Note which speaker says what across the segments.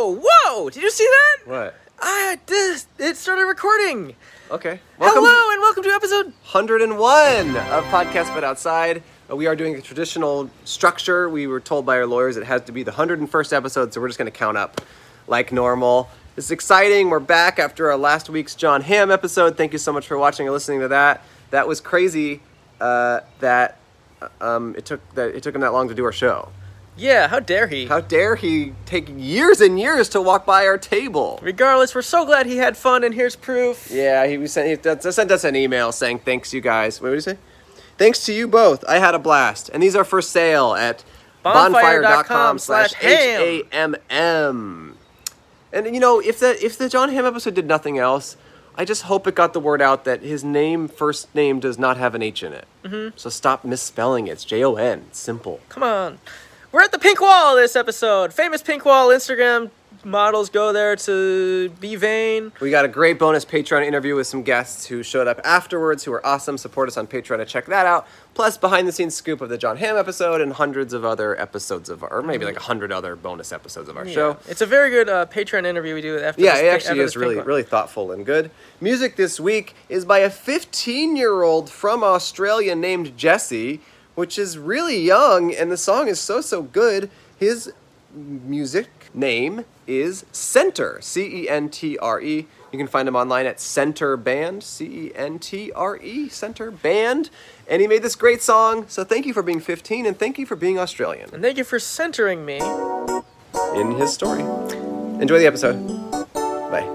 Speaker 1: Whoa! Did you see that?
Speaker 2: What?
Speaker 1: Ah, this it started recording.
Speaker 2: Okay. Welcome
Speaker 1: Hello and welcome to episode.
Speaker 2: to 101 of Podcast But Outside. Uh, We are doing a traditional structure. We were told by our lawyers it has to be the 101st episode, so we're just going to count up like normal. This is exciting. We're back after our last week's John Hamm episode. Thank you so much for watching and listening to that. That was crazy uh, that uh, um, it took that it took him that long to do our show.
Speaker 1: Yeah, how dare he?
Speaker 2: How dare he take years and years to walk by our table?
Speaker 1: Regardless, we're so glad he had fun, and here's proof.
Speaker 2: Yeah, he was sent, he that- sent us an email saying, thanks, you guys. What did he say? Thanks to you both. I had a blast. And these are for sale at
Speaker 1: Bonfire.com
Speaker 2: bonfire.com
Speaker 1: slash
Speaker 2: slash
Speaker 1: ham.
Speaker 2: H-A-M-M. And, you know, if, that, if the John Hamm episode did nothing else, I just hope it got the word out that his name, first name, does not have an H in it. Mm-hmm. So stop misspelling it. It's J-O-N. Simple.
Speaker 1: Come on. We're at the pink wall this episode. Famous pink wall. Instagram models go there to be vain.
Speaker 2: We got a great bonus Patreon interview with some guests who showed up afterwards, who were awesome. Support us on Patreon to check that out. Plus, behind the scenes scoop of the John Hamm episode and hundreds of other episodes of, our, or maybe like a hundred other bonus episodes of our show.
Speaker 1: It's a very good uh, Patreon interview we do after.
Speaker 2: Yeah,
Speaker 1: this
Speaker 2: it
Speaker 1: pink-
Speaker 2: actually
Speaker 1: after this
Speaker 2: is
Speaker 1: pink
Speaker 2: really,
Speaker 1: one.
Speaker 2: really thoughtful and good. Music this week is by a 15 year old from Australia named Jesse, which is really young, and the song is so, so good. His music name is Center, C E N T R E. You can find him online at Center Band, C E N T R E, Center Band. And he made this great song, so thank you for being 15 and thank you for being Australian
Speaker 1: And thank you for centering me.
Speaker 2: in his story. Enjoy the episode. Bye.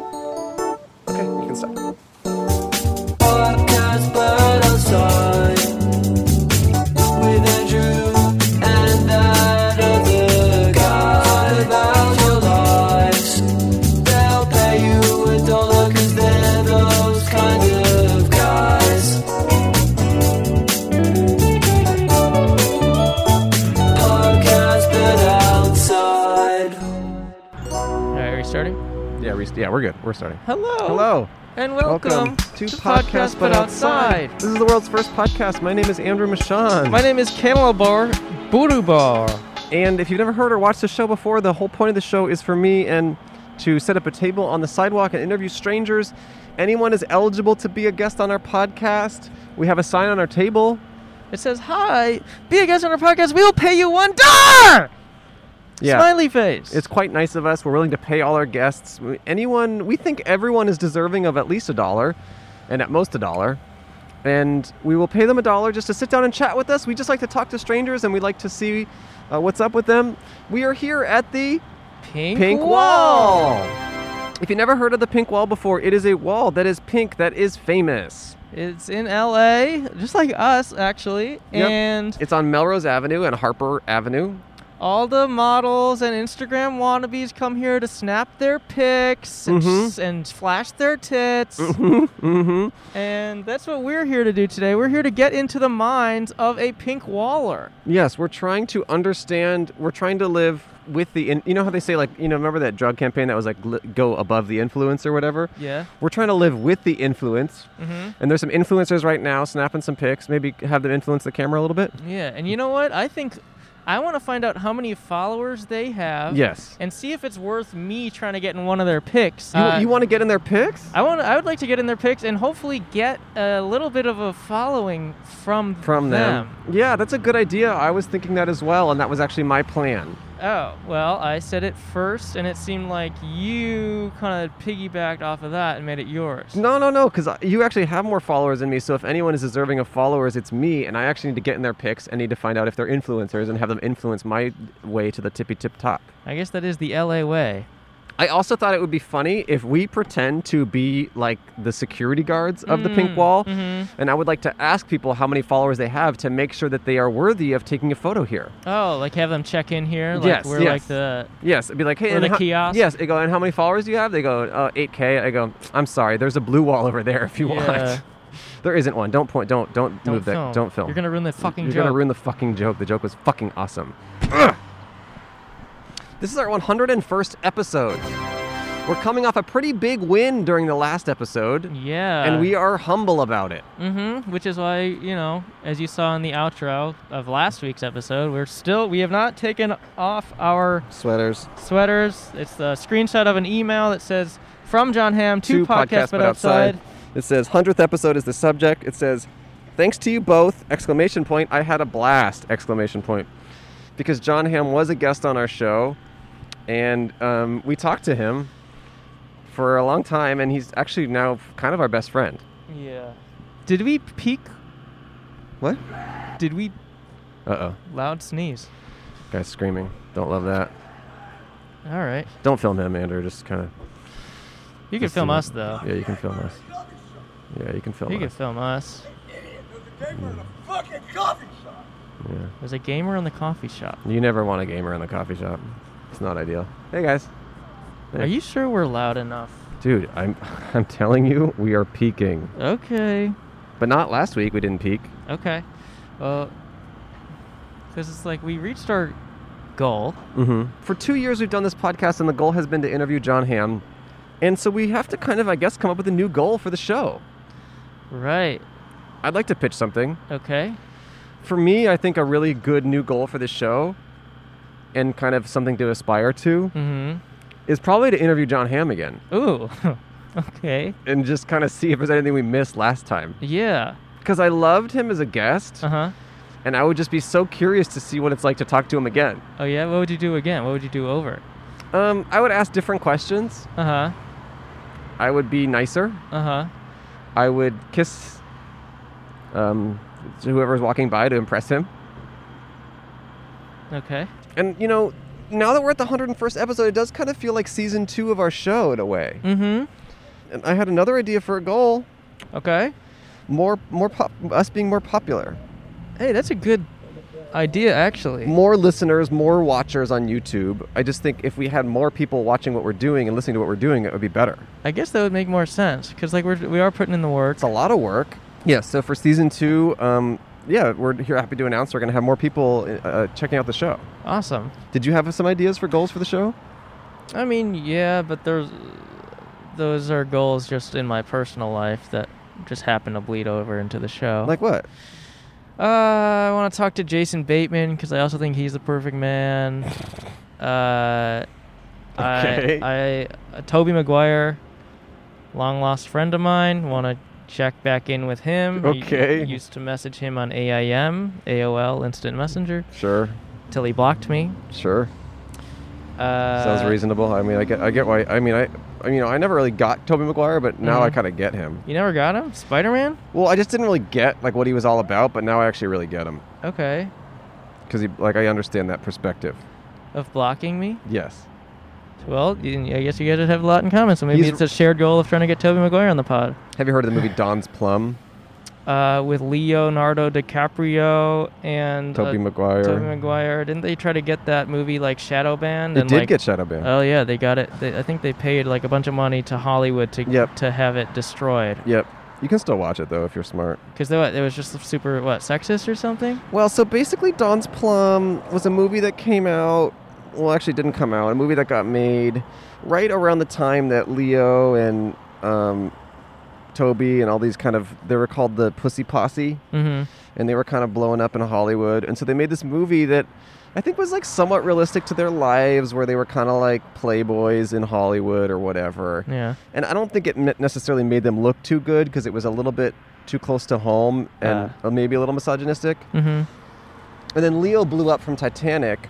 Speaker 2: Okay, you can stop.
Speaker 3: podcast, but outside with Andrew and that other guy about your lives. They'll pay you a dollar 'cause they're those kind of guys. Podcast, but outside.
Speaker 1: All right, are you starting?
Speaker 2: Yeah, we, yeah, we're good. We're starting.
Speaker 1: Hello.
Speaker 2: Hello.
Speaker 1: And welcome,
Speaker 2: This is the world's first podcast. My name is Andrew Michon.
Speaker 1: My name is Canelabar Burubar.
Speaker 2: and if you've never heard or watched the show before, the whole point of the show is for me and to set up a table on the sidewalk and interview strangers. Anyone is eligible to be a guest on our podcast. We have a sign on our table.
Speaker 1: It says, "Hi, be a guest on our podcast. We will pay you one dollar."
Speaker 2: Yeah.
Speaker 1: Smiley face.
Speaker 2: It's quite nice of us. We're willing to pay all our guests. Anyone, we think everyone is deserving of at least a dollar, and at most a dollar. And we will pay them a dollar just to sit down and chat with us. We just like to talk to strangers, and we like to see uh, what's up with them. We are here at the
Speaker 1: pink,
Speaker 2: Pink Wall. If you never heard of the Pink Wall before, it is a wall that is pink that is famous.
Speaker 4: It's in LA, just like us actually,
Speaker 2: Yep.
Speaker 4: and
Speaker 2: It's on Melrose Avenue and Harper Avenue.
Speaker 4: all the models and Instagram wannabes come here to snap their pics and,
Speaker 2: Mhm.
Speaker 4: s- and flash their tits,
Speaker 2: Mm-hmm.
Speaker 4: and that's what we're here to do today. We're here to get into the minds of a pink waller.
Speaker 2: Yes, we're trying to understand. We're trying to live with the. In, you know how they say like you know remember that drug campaign that was like li- go above the influence or whatever.
Speaker 4: Yeah.
Speaker 2: We're trying to live with the influence,
Speaker 4: Mm-hmm.
Speaker 2: and there's some influencers right now snapping some pics. Maybe have them influence the camera a little bit.
Speaker 4: Yeah, and you know what? I think I want to find out how many followers they have.
Speaker 2: Yes.
Speaker 4: And see if it's worth me trying to get in one of their pics.
Speaker 2: You,
Speaker 4: Uh,
Speaker 2: you want to get in their pics?
Speaker 4: I want. I would like to get in their pics and hopefully get a little bit of a following from
Speaker 2: From them.
Speaker 4: them.
Speaker 2: Yeah, that's a good idea. I was thinking that as well, and that was actually my plan.
Speaker 4: Oh well, I said it first, and it seemed like you kind of piggybacked off of that and made it yours.
Speaker 2: No, no, no, because you actually have more followers than me. So if anyone is deserving of followers, it's me, and I actually need to get in their pics and need to find out if they're influencers and have them influence my way to the tippy tip top.
Speaker 4: I guess that is the LA way.
Speaker 2: I also thought it would be funny if we pretend to be like the security guards of the pink
Speaker 4: Mm,
Speaker 2: wall.
Speaker 4: mhm.
Speaker 2: And I would like to ask people how many followers they have to make sure that they are worthy of taking a photo here.
Speaker 4: Oh, like have them check in here. Like
Speaker 2: Yes,
Speaker 4: we're
Speaker 2: yes.
Speaker 4: like the.
Speaker 2: Yes, it'd be like, hey,
Speaker 4: Or
Speaker 2: and
Speaker 4: the
Speaker 2: ho-
Speaker 4: kiosk.
Speaker 2: Yes, I go, and how many followers do you have? They go, uh, 8K. I go, I'm sorry, there's a blue wall over there if you
Speaker 4: Yeah.
Speaker 2: want. There isn't one. Don't point. Don't don't,
Speaker 4: Don't
Speaker 2: move
Speaker 4: film.
Speaker 2: that. Don't film.
Speaker 4: You're gonna ruin the fucking
Speaker 2: You're
Speaker 4: joke.
Speaker 2: gonna ruin the fucking joke. The joke was fucking awesome. this is our 101st episode. We're coming off a pretty big win during the last episode,
Speaker 4: Yeah.
Speaker 2: and we are humble about it.
Speaker 4: Mm-hmm. Which is why you know, as you saw in the outro of last week's episode, we're still we have not taken off our
Speaker 2: Sweaters.
Speaker 4: sweaters. It's the screenshot of an email that says from John Ham to
Speaker 2: Two
Speaker 4: podcast, but outside.
Speaker 2: It says hundredth episode is the subject. It says, "Thanks to you both!" Exclamation point! I had a blast! Exclamation point! Because John Hamm was a guest on our show, and um, we talked to him for a long time, and he's actually now kind of our best friend.
Speaker 4: Yeah. Did we peak?
Speaker 2: What?
Speaker 4: Did we
Speaker 2: Uh oh!
Speaker 4: loud sneeze?
Speaker 2: Guy's screaming. Don't love that.
Speaker 4: All right.
Speaker 2: Don't film him, Andrew. Just kind of.
Speaker 4: You can
Speaker 2: Just
Speaker 4: film
Speaker 2: a-
Speaker 4: us though.
Speaker 2: Yeah, you can film us. Yeah, you can film
Speaker 4: You can
Speaker 2: us.
Speaker 4: film us. There's a gamer in the coffee shop.
Speaker 2: yeah. You never want a gamer in the coffee shop. It's not ideal. Hey guys. Hey.
Speaker 4: Are you sure we're loud enough?
Speaker 2: Dude, I'm I'm telling you, we are peaking.
Speaker 4: Okay.
Speaker 2: But not last week. We didn't peak.
Speaker 4: Okay. Well, because it's like we reached our goal.
Speaker 2: Mm-hmm. For two years, we've done this podcast, and the goal has been to interview John Hamm. And so we have to kind of, I guess, come up with a new goal for the show.
Speaker 4: Right.
Speaker 2: I'd like to pitch something.
Speaker 4: Okay.
Speaker 2: For me, I think a really good new goal for the show, and kind of something to aspire to,
Speaker 4: Mm
Speaker 2: is probably to interview John Hamm again.
Speaker 4: hmm. Ooh. okay.
Speaker 2: and just kind of see if there's anything we missed last time.
Speaker 4: Yeah.
Speaker 2: Because I loved him as a guest,
Speaker 4: Uh huh.
Speaker 2: and I would just be so curious to see what it's like to talk to him again.
Speaker 4: Oh, yeah. What would you do again? What would you do over?
Speaker 2: Um, I would ask different questions.
Speaker 4: Uh huh.
Speaker 2: I would be nicer.
Speaker 4: Uh huh.
Speaker 2: I would kiss um, whoever's walking by to impress him.
Speaker 4: Okay.
Speaker 2: And, you know, now that we're at the 101st episode, it does kind of feel like season two of our show in a way.
Speaker 4: Mm
Speaker 2: And I had another idea for a goal
Speaker 4: hmm. Okay.
Speaker 2: more, more pop- us being more popular,
Speaker 4: Hey, that's a good idea, actually.
Speaker 2: more listeners, more watchers on YouTube. I just think if we had more people watching what we're doing and listening to what we're doing, it would be better.
Speaker 4: I guess that would make more sense because, like, we're, we are putting in the work.
Speaker 2: It's a lot of work. Yeah. So for season two, um, yeah, we're here happy to announce we're going to have more people uh, checking out the show.
Speaker 4: Awesome.
Speaker 2: Did you have some ideas for goals for the show?
Speaker 4: I mean, yeah, but there's those are goals just in my personal life that just happen to bleed over into the show.
Speaker 2: Like what?
Speaker 4: uh, I want to talk to Jason Bateman because I also think he's the perfect man. Uh,
Speaker 2: Okay.
Speaker 4: I, I uh, Toby Maguire, long lost friend of mine, want to check back in with him. He-
Speaker 2: Okay.
Speaker 4: used to message him on AIM, AOL Instant Messenger,
Speaker 2: Sure,
Speaker 4: till he blocked me.
Speaker 2: sure.
Speaker 4: Uh,
Speaker 2: Sounds reasonable. I mean, I get, I get why. I mean, I, I, you know, I never really got Toby Maguire, but now I
Speaker 4: Mhm.
Speaker 2: kind of get him.
Speaker 4: You never got him, Spider Man.
Speaker 2: Well, I just didn't really get like what he was all about, but now I actually really get him
Speaker 4: Okay.
Speaker 2: because he, like, I understand that perspective.
Speaker 4: Of blocking me?
Speaker 2: Yes.
Speaker 4: Well, you- I guess you guys have a lot in common, so maybe
Speaker 2: He's-
Speaker 4: it's a shared goal of trying to get Toby Maguire on the pod.
Speaker 2: Have you heard of the movie Don's Plum?
Speaker 4: Uh, with Leonardo DiCaprio and uh,
Speaker 2: Toby Maguire.
Speaker 4: Tobey Maguire. Didn't they try to get that movie like Shadow Band?
Speaker 2: It
Speaker 4: and,
Speaker 2: did
Speaker 4: like,
Speaker 2: get shadow banned.
Speaker 4: Oh yeah, they got it. They, I think they paid like a bunch of money to Hollywood to
Speaker 2: Yep.
Speaker 4: to have it destroyed
Speaker 2: yep. You can still watch it though if you're smart.
Speaker 4: because what it was just super what sexist or something.
Speaker 2: Well, so basically, Don's Plum was a movie that came out. Well, actually, it didn't come out. A movie that got made right around the time that Leo and um, Toby and all these kind of they were called the Pussy Posse,
Speaker 4: Mm-hmm.
Speaker 2: and they were kind of blowing up in Hollywood. And so they made this movie that I think was like somewhat realistic to their lives, where they were kind of like playboys in Hollywood or whatever.
Speaker 4: Yeah.
Speaker 2: And I don't think it ne- necessarily made them look too good because it was a little bit too close to home and uh, maybe a little misogynistic.
Speaker 4: Mm-hmm.
Speaker 2: And then Leo blew up from Titanic,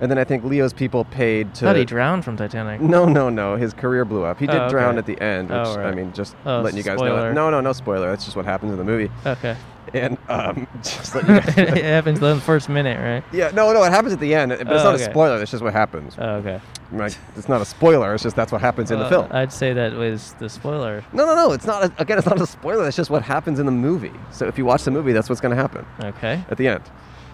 Speaker 2: and then I think Leo's people paid to.
Speaker 4: Thought he drowned from Titanic.
Speaker 2: no, no, no. His career blew up. He did
Speaker 4: Oh, okay.
Speaker 2: drown at the end, which
Speaker 4: Oh,
Speaker 2: I
Speaker 4: right.
Speaker 2: mean, just
Speaker 4: Oh,
Speaker 2: letting you guys know.
Speaker 4: spoiler.
Speaker 2: That. No, no, no spoiler. That's just what happens in the movie.
Speaker 4: Okay.
Speaker 2: And um, just let you guys.
Speaker 4: it happens the first minute, right?
Speaker 2: yeah, no, no. It happens at the end, but it's
Speaker 4: Oh,
Speaker 2: not a
Speaker 4: okay.
Speaker 2: spoiler. That's just what happens.
Speaker 4: Oh, okay.
Speaker 2: Like, it's not a spoiler. It's just that's what happens in the
Speaker 4: Uh,
Speaker 2: film.
Speaker 4: I'd say that was the spoiler.
Speaker 2: no, no, no. It's not. A, again, it's not a spoiler. That's just what happens in the movie. So if you watch the movie, that's what's going to happen.
Speaker 4: Okay.
Speaker 2: at the end.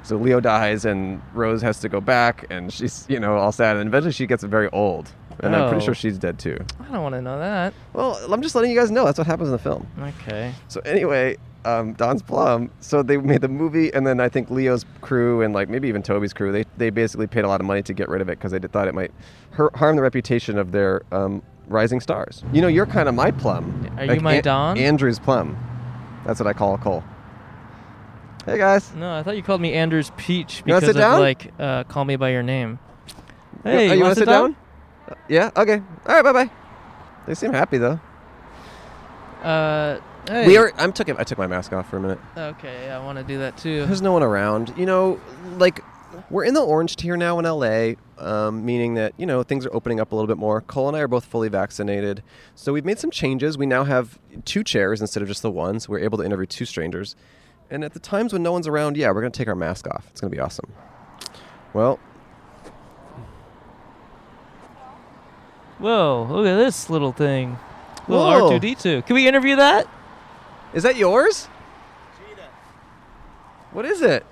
Speaker 2: So Leo dies, and Rose has to go back, and she's you know all sad, and eventually she gets very old, and I'm pretty
Speaker 4: Oh.
Speaker 2: sure she's dead too.
Speaker 4: I don't want to know that.
Speaker 2: Well, I'm just letting you guys know that's what happens in the film.
Speaker 4: Okay.
Speaker 2: So anyway, um, Don's Plum. So they made the movie, and then I think Leo's crew and like maybe even Toby's crew, they they basically paid a lot of money to get rid of it because they did- thought it might hurt, harm the reputation of their um, rising stars. You know, you're kind of my plum.
Speaker 4: Are you my Don?
Speaker 2: Andrew's plum. That's what I call Cole. Hey guys.
Speaker 4: No, I thought you called me Anders Peach
Speaker 2: You wanna
Speaker 4: because
Speaker 2: sit
Speaker 4: of
Speaker 2: down?
Speaker 4: like uh, call me by your name.
Speaker 2: Are
Speaker 4: Hey,
Speaker 2: you
Speaker 4: want
Speaker 2: wanna sit down? Uh, Yeah. Okay. All right. Bye bye. They seem happy though.
Speaker 4: Uh, hey.
Speaker 2: We are. I'm took. I took my mask off for a minute.
Speaker 4: Okay, I want to do that too.
Speaker 2: There's no one around. You know, like we're in the orange tier now in LA, um, meaning that you know things are opening up a little bit more. Cole and I are both fully vaccinated, so we've made some changes. We now have two chairs instead of just the one, so we're able to interview two strangers. And at the times when no one's around, yeah, we're gonna take our mask off. It's gonna be awesome. Well,
Speaker 4: Whoa, look at this little thing. Little
Speaker 2: Whoa.
Speaker 4: R2D2. Can we interview that?
Speaker 2: is that yours? What is it?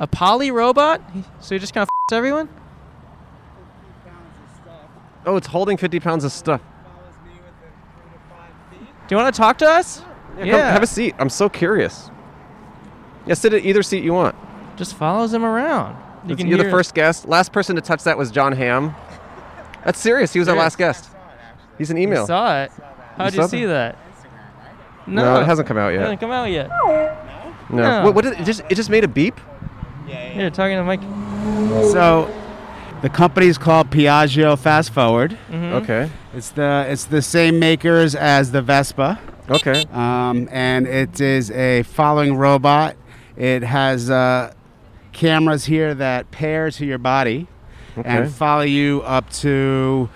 Speaker 4: A poly robot? He- So he just kind of f***s everyone?
Speaker 2: Oh, it's holding 50 pounds of stuff.
Speaker 4: Do you want to talk to us?
Speaker 2: Yeah, come- have a seat. I'm so curious. Yeah, sit at either seat you want.
Speaker 4: just follows him around. You
Speaker 2: You
Speaker 4: can
Speaker 2: are the
Speaker 4: hear-
Speaker 2: first guest. Last person to touch that was John Ham. That's serious. He was our
Speaker 4: Serious.
Speaker 2: last guest. He's an
Speaker 4: You
Speaker 2: email.
Speaker 4: saw it. How'd
Speaker 2: You
Speaker 4: you,
Speaker 2: saw
Speaker 4: see that?
Speaker 2: No, it hasn't come out
Speaker 4: It
Speaker 2: yet.
Speaker 4: hasn't come out yet.
Speaker 2: no.
Speaker 4: no.
Speaker 2: What, what did, it just it just made a beep.
Speaker 4: Here, talking to Mike.
Speaker 5: So, the company's called Piaggio Fast Forward.
Speaker 4: Mm-hmm.
Speaker 2: Okay.
Speaker 5: It's the it's the same makers as the Vespa,
Speaker 2: Okay.
Speaker 5: um, and it is a following robot. It has uh, cameras here that pair to your body
Speaker 2: Okay.
Speaker 5: and follow you up to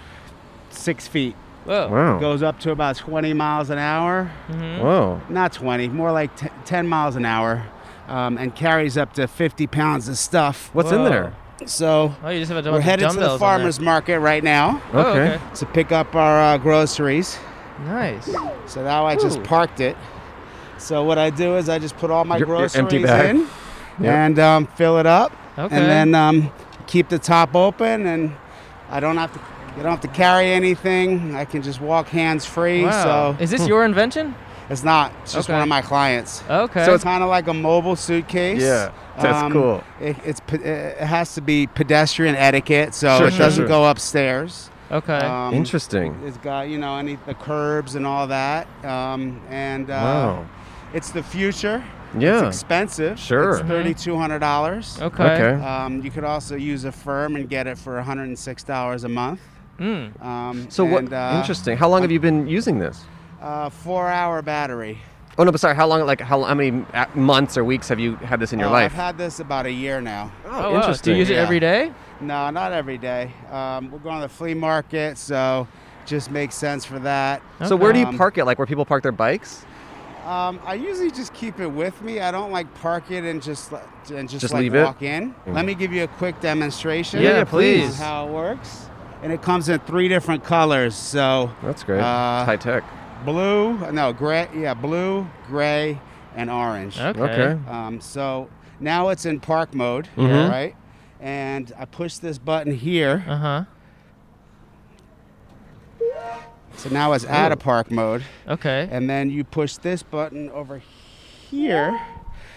Speaker 5: six feet.
Speaker 4: Whoa.
Speaker 2: Wow.
Speaker 5: Goes up to about 20 miles an hour.
Speaker 2: Whoa.
Speaker 5: Not 20, more like t- 10 miles an hour, um, and carries up to 50 pounds of stuff.
Speaker 2: What's in
Speaker 4: Whoa.
Speaker 2: there?
Speaker 5: So
Speaker 4: Oh, you just have a bunch
Speaker 5: we're
Speaker 4: of
Speaker 5: headed to
Speaker 4: dumbbells
Speaker 5: the
Speaker 4: on
Speaker 5: farmers market right now
Speaker 4: there. Oh,
Speaker 2: Okay.
Speaker 4: okay.
Speaker 5: to pick up our uh, groceries.
Speaker 4: Nice.
Speaker 5: So now I just
Speaker 4: Ooh.
Speaker 5: parked it. So what I do is I just put all my
Speaker 2: Your- your
Speaker 5: groceries
Speaker 2: empty bag.
Speaker 5: in
Speaker 2: Yep.
Speaker 5: and um, fill it up,
Speaker 4: Okay.
Speaker 5: and then um, keep the top open, and I don't have to. You don't have to carry anything. I can just walk hands free.
Speaker 4: Wow.
Speaker 5: So
Speaker 4: Is this your invention?
Speaker 5: it's not. It's just
Speaker 4: Okay.
Speaker 5: one of my clients.
Speaker 4: Okay.
Speaker 5: So it's kind of like a mobile suitcase. Um,
Speaker 2: Yeah, that's cool.
Speaker 5: It, it's pe- it has to be pedestrian etiquette, so
Speaker 2: Sure,
Speaker 5: it
Speaker 2: sure,
Speaker 5: doesn't
Speaker 2: sure.
Speaker 5: go upstairs.
Speaker 4: okay.
Speaker 2: uh,
Speaker 5: Um,
Speaker 2: Interesting.
Speaker 5: It's got you know any the curbs and all that, um, and uh,
Speaker 2: Wow.
Speaker 5: it's the future.
Speaker 2: Yeah.
Speaker 5: it's expensive.
Speaker 2: Sure.
Speaker 5: it's
Speaker 2: Mhm.
Speaker 5: thirty two hundred dollars.
Speaker 4: Mm-hmm. okay.
Speaker 2: okay.
Speaker 5: Um, you could also use a firm and get it for one hundred and six dollars a month.
Speaker 4: Mm.
Speaker 5: Um,
Speaker 2: So what?
Speaker 5: and, uh,
Speaker 2: interesting. How long have you been using this?
Speaker 5: Uh, four hour battery.
Speaker 2: Oh no, but sorry. How long? Like how, how many uh, months or weeks have you had this in your
Speaker 5: Uh,
Speaker 2: life?
Speaker 5: I've had this about a year now.
Speaker 4: Oh,
Speaker 2: oh,
Speaker 4: wow. Do
Speaker 2: interesting.
Speaker 4: you use it
Speaker 5: Yeah.
Speaker 4: every day?
Speaker 5: No, not every day. Um, we're going to the flea market, so just makes sense for that.
Speaker 2: So where do you
Speaker 5: Um,
Speaker 2: park it? Like where people park their bikes?
Speaker 5: Um, I usually just keep it with me. I don't like park it and just let- and just,
Speaker 2: Just
Speaker 5: like
Speaker 2: leave it?
Speaker 5: walk in. Let me give you a quick demonstration.
Speaker 2: Yeah, Yeah, please.
Speaker 5: on How it works, and it comes in three different colors. So
Speaker 2: That's great.
Speaker 5: Uh,
Speaker 2: it's high tech.
Speaker 5: blue, no gray, yeah, blue, gray, and orange.
Speaker 4: Okay.
Speaker 2: Okay.
Speaker 5: Um, so now it's in park mode,
Speaker 4: Mhm.
Speaker 2: Mm-hmm.
Speaker 5: right? And I push this button here,
Speaker 4: Uh huh.
Speaker 5: so now it's out of park mode.
Speaker 4: Okay.
Speaker 5: And then you push this button over here.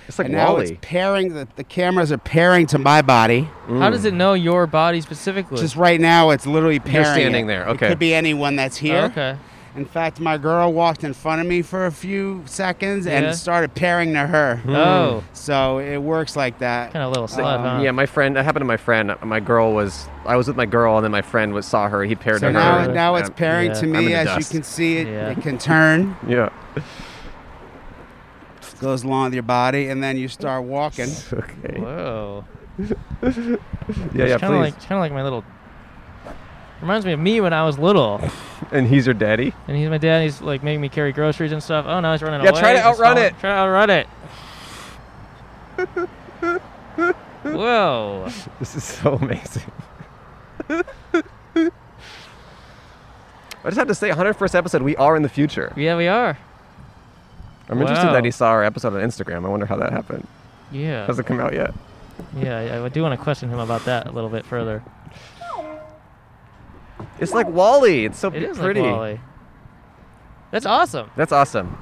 Speaker 2: It's like
Speaker 5: and now
Speaker 2: Wally.
Speaker 5: it's pairing the, the cameras are pairing to my body.
Speaker 4: How does it know your body specifically?
Speaker 5: Just right now, it's literally pairing.
Speaker 2: standing
Speaker 5: it.
Speaker 2: there,
Speaker 5: It
Speaker 2: okay.
Speaker 5: could be anyone that's
Speaker 4: Oh,
Speaker 5: here.
Speaker 4: okay.
Speaker 5: In fact, my girl walked in front of me for a few seconds and
Speaker 4: Yeah.
Speaker 5: it started pairing to her.
Speaker 2: Hmm.
Speaker 4: Oh,
Speaker 5: So it works like that.
Speaker 4: kind of little slut, huh?
Speaker 2: Um, Yeah, my friend. That happened to my friend. My girl was. I was with my girl, and then my friend was saw her. He paired
Speaker 5: so
Speaker 2: to
Speaker 5: now,
Speaker 2: her.
Speaker 5: now it's
Speaker 2: Um,
Speaker 5: pairing
Speaker 4: yeah.
Speaker 5: to
Speaker 2: I'm in
Speaker 5: me,
Speaker 2: the
Speaker 5: as
Speaker 2: dust.
Speaker 5: you can see it.
Speaker 4: Yeah.
Speaker 5: It can turn,
Speaker 2: Yeah.
Speaker 5: goes along with your body, and then you start walking.
Speaker 2: Okay.
Speaker 4: Whoa.
Speaker 2: Yeah, yeah. Please.
Speaker 4: Kind of like, kind of like my little. Reminds me of me when I was little,
Speaker 2: and he's your daddy.
Speaker 4: and he's my dad. He's like making me carry groceries and stuff. Oh no, he's running
Speaker 2: Yeah,
Speaker 4: away.
Speaker 2: try to
Speaker 4: He's
Speaker 2: outrun
Speaker 4: falling.
Speaker 2: it.
Speaker 4: Try to outrun it. Whoa.
Speaker 2: This is so amazing. I just have to say, 101st episode, we are in the future.
Speaker 4: Yeah, we are.
Speaker 2: I'm interested
Speaker 4: Wow.
Speaker 2: that he saw our episode on Instagram. I wonder how that happened.
Speaker 4: Yeah.
Speaker 2: Hasn't come out yet.
Speaker 4: Yeah, I- I do want to question him about that a little bit further.
Speaker 2: It's like Wally. It's so
Speaker 4: It is
Speaker 2: pretty.
Speaker 4: like Wally. That's awesome.
Speaker 2: That's awesome.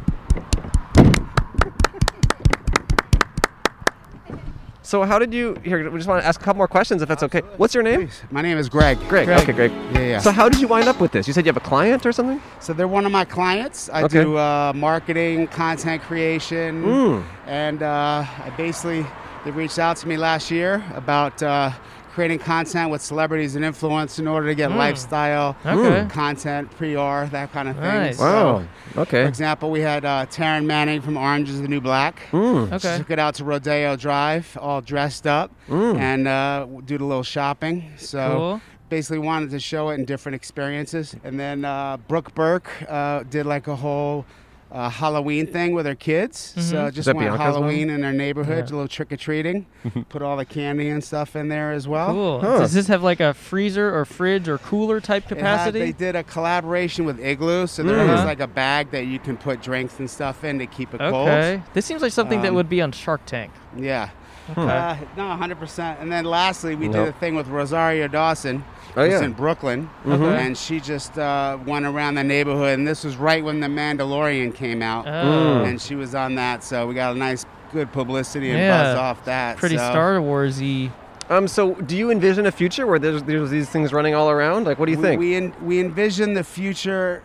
Speaker 2: so how did you? Here, we just want to ask a couple more questions, if that's okay. What's your name?
Speaker 5: My name is Greg.
Speaker 2: Greg.
Speaker 4: Greg.
Speaker 2: Okay, Greg.
Speaker 5: Yeah, yeah.
Speaker 2: So how did you wind up with this? You said you have a client or something?
Speaker 5: So they're one of my clients. I
Speaker 2: Okay.
Speaker 5: do uh, marketing, content creation,
Speaker 2: Mm.
Speaker 5: and uh, I basically they reached out to me last year about uh, creating content with celebrities and influence in order to get lifestyle Hmm.
Speaker 4: Okay.
Speaker 5: content, PR, that kind of thing.
Speaker 4: Nice.
Speaker 5: So,
Speaker 2: Wow.
Speaker 5: For
Speaker 2: Okay.
Speaker 5: example, we had uh, Taryn Manning from Orange is the New Black.
Speaker 2: Mm.
Speaker 5: She
Speaker 4: Okay.
Speaker 5: took it out to Rodeo Drive, all dressed up,
Speaker 2: Mm.
Speaker 5: and uh, did a little shopping. So
Speaker 4: Cool.
Speaker 5: basically wanted to show it in different experiences. And then uh, Brooke Burke uh, did like a whole uh, Halloween thing with her kids. So
Speaker 4: Mhm.
Speaker 5: just
Speaker 2: that
Speaker 5: went
Speaker 2: Bianca's
Speaker 5: Halloween in their neighborhood,
Speaker 4: Yeah.
Speaker 5: a little trick or treating. Put all the candy and stuff in there as well.
Speaker 4: Cool.
Speaker 2: Huh.
Speaker 4: Does this have like a freezer or fridge or cooler type
Speaker 5: It had-
Speaker 4: capacity?
Speaker 5: they did a collaboration with Igloo, so there
Speaker 4: Mhm.
Speaker 5: is like a bag that you can put drinks and stuff in to keep it
Speaker 4: okay. This seems like something that
Speaker 5: Um,
Speaker 4: would be on Shark Tank.
Speaker 5: cold. Yeah.
Speaker 2: Hmm.
Speaker 4: Okay.
Speaker 5: Uh, no, 100%. And then lastly, we
Speaker 2: Nope.
Speaker 5: did a thing with Rosario Dawson.
Speaker 2: Oh,
Speaker 5: who's
Speaker 2: yeah. Mm-hmm.
Speaker 5: in Brooklyn.
Speaker 4: Okay.
Speaker 5: And she just uh, went around the neighborhood. And this was right when The Mandalorian came out.
Speaker 2: Hmm.
Speaker 4: Oh.
Speaker 5: And she was on that. So we got a nice, good publicity and
Speaker 4: Yeah.
Speaker 5: buzz off that.
Speaker 4: Pretty
Speaker 5: so.
Speaker 4: Star Warsy.
Speaker 2: Um. So do you envision a future where there's there's these things running all around? Like, what do you
Speaker 5: we,
Speaker 2: think?
Speaker 5: We, en- we envision the future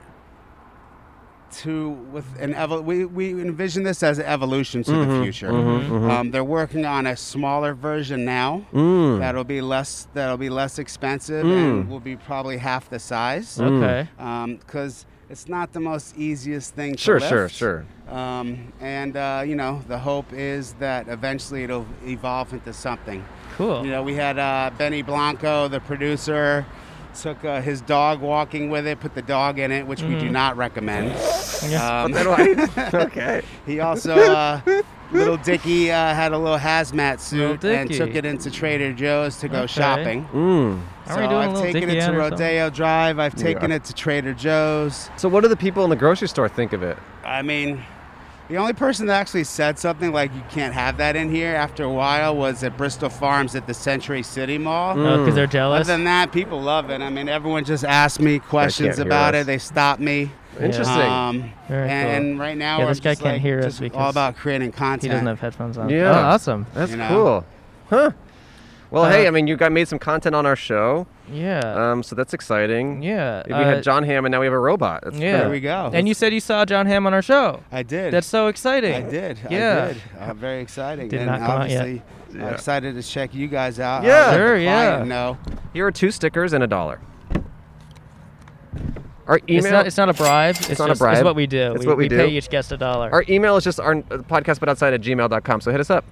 Speaker 5: to with an evol- we, we envision this as an evolution to
Speaker 2: Mm-hmm.
Speaker 5: the future. Um, they're working on a smaller version now
Speaker 2: Mm.
Speaker 5: that'll be less that'll be less expensive
Speaker 2: Hmm.
Speaker 5: and will be probably half the size.
Speaker 4: Okay.
Speaker 5: because it's not the most easiest thing. To
Speaker 2: Sure,
Speaker 5: lift.
Speaker 2: sure, sure.
Speaker 5: Um, and uh, you know, the hope is that eventually it'll evolve into something.
Speaker 4: Cool.
Speaker 5: You know, we had uh, Benny Blanco, the producer, took uh, his dog walking with it, put the dog in it, which we
Speaker 2: Mm-hmm.
Speaker 5: do not recommend.
Speaker 4: Yeah.
Speaker 5: Um,
Speaker 2: okay.
Speaker 5: he also, uh, little Dicky uh, had a little hazmat suit
Speaker 4: Little
Speaker 5: and took
Speaker 4: Dicky.
Speaker 5: it into Trader Joe's to go
Speaker 4: Okay.
Speaker 5: shopping.
Speaker 2: Mm.
Speaker 4: Aren't
Speaker 5: so
Speaker 4: we doing a
Speaker 5: I've
Speaker 4: little
Speaker 5: taken
Speaker 4: Dicky
Speaker 5: it to
Speaker 4: ad or something?
Speaker 5: Rodeo Drive. I've
Speaker 2: are.
Speaker 5: taken it to Trader Joe's.
Speaker 2: So what do the people in the grocery store think of it?
Speaker 5: I mean, the only person that actually said something like you can't have that in here after a while was at Bristol Farms at the Century City Mall.
Speaker 4: Because Oh, they're
Speaker 5: Other
Speaker 4: jealous.
Speaker 5: than that, people love it. I mean, everyone just asked me questions
Speaker 2: hear
Speaker 5: about
Speaker 2: us.
Speaker 5: it. They stopped me.
Speaker 2: Interesting.
Speaker 5: Um,
Speaker 4: Very
Speaker 5: and
Speaker 4: cool.
Speaker 5: right now,
Speaker 4: Yeah,
Speaker 5: we're
Speaker 4: this guy
Speaker 5: just,
Speaker 4: can't
Speaker 5: like,
Speaker 4: hear us
Speaker 5: just all
Speaker 4: because
Speaker 5: about creating content.
Speaker 4: He doesn't have headphones on.
Speaker 2: Yeah.
Speaker 4: Oh, awesome.
Speaker 2: That's
Speaker 5: you know.
Speaker 2: cool. Huh. Well,
Speaker 4: Uh,
Speaker 2: hey, I mean, you got made some content on our show,
Speaker 5: Uh,
Speaker 4: Yeah.
Speaker 2: um, so that's exciting.
Speaker 4: yeah.
Speaker 2: We
Speaker 4: uh,
Speaker 2: had John Hamm, and now we have a robot. That's
Speaker 4: Yeah.
Speaker 5: There we go.
Speaker 4: And you said you saw John Hamm on our show.
Speaker 5: I did.
Speaker 4: That's so exciting.
Speaker 5: I did.
Speaker 4: Yeah.
Speaker 5: I did. Uh, very exciting.
Speaker 4: Did
Speaker 5: and
Speaker 4: not come out yet.
Speaker 5: obviously, I'm excited to check you guys out.
Speaker 2: Yeah.
Speaker 5: I'll let the
Speaker 4: Sure, yeah.
Speaker 5: client know.
Speaker 2: Here are two stickers and a dollar. Our email.
Speaker 4: It's not. It's not a bribe. It's,
Speaker 2: not a
Speaker 4: just-
Speaker 2: bribe.
Speaker 4: It's what we do.
Speaker 2: It's
Speaker 4: we,
Speaker 2: what we do.
Speaker 4: pay each guest a dollar.
Speaker 2: our email is just our uh, podcast, but outside at gmail.com. So hit us up.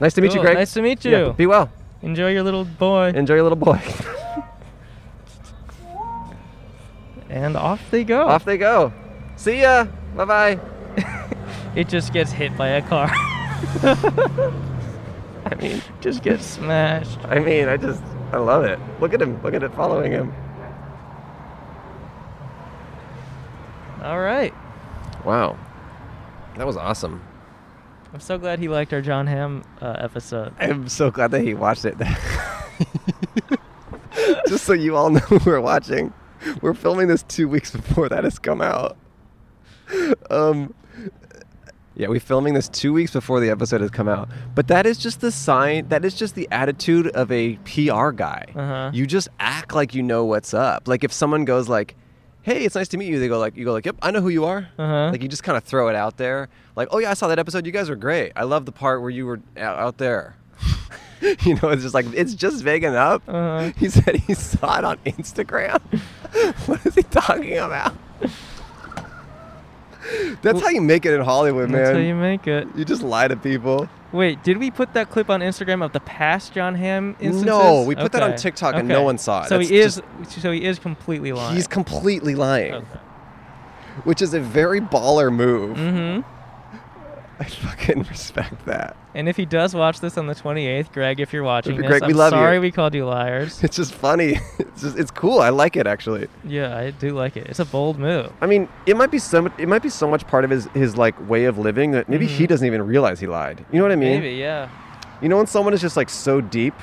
Speaker 2: Nice to meet you,
Speaker 4: Cool.
Speaker 2: Greg.
Speaker 4: Nice to meet you.
Speaker 2: Yeah, be well.
Speaker 4: Enjoy your little boy.
Speaker 2: Enjoy your little boy.
Speaker 4: and off they go.
Speaker 2: Off they go. See ya. Bye bye.
Speaker 4: it just gets hit by a car.
Speaker 2: I mean,
Speaker 4: just gets smashed.
Speaker 2: I mean, I just, I love it. Look at him. Look at it following him.
Speaker 4: All right.
Speaker 2: Wow. That was awesome.
Speaker 4: I'm so glad he liked our John Hamm uh, episode.
Speaker 2: I'm so glad that he watched it. Just so you all know who we're watching, we're filming this two weeks before that has come out. Um, yeah, we're filming this two weeks before the episode has come out. But that is just the sign, that is just the attitude of a PR guy.
Speaker 4: Uh-huh.
Speaker 2: You just act like you know what's up. Like if someone goes like, hey, it's nice to meet you, they go like, you go like, yep, I know who you are.
Speaker 4: Uh-huh.
Speaker 2: Like you just kind of throw it out there. Like, oh yeah, I saw that episode. You guys were great. I love the part where you were out, out there. you know, it's just like it's just vague enough.
Speaker 4: Uh-huh.
Speaker 2: He said he saw it on Instagram. what is he talking about? That's how you make it in Hollywood, man.
Speaker 4: That's how you make it.
Speaker 2: You just lie to people.
Speaker 4: Wait, did we put that clip on Instagram of the past John Hamm instances?
Speaker 2: No, we put that on
Speaker 4: Okay.
Speaker 2: TikTok and no one saw it.
Speaker 4: So he
Speaker 2: That's
Speaker 4: is. So he is completely lying.
Speaker 2: He's completely lying,
Speaker 4: Okay.
Speaker 2: which is a very baller move.
Speaker 4: Mm-hmm.
Speaker 2: I fucking respect that.
Speaker 4: And if he does watch this on the 28th, Greg, if you're watching this,
Speaker 2: Greg,
Speaker 4: I'm
Speaker 2: we love you.
Speaker 4: sorry we called you liars.
Speaker 2: It's just funny. It's just it's cool. I like it actually.
Speaker 4: yeah, I do like it. It's a bold move.
Speaker 2: I mean, it might be so it might be so much part of his his like way of living that maybe he doesn't even realize he lied. You know what I mean?
Speaker 4: Mm-hmm. Maybe, yeah.
Speaker 2: You know when someone is just like so deep.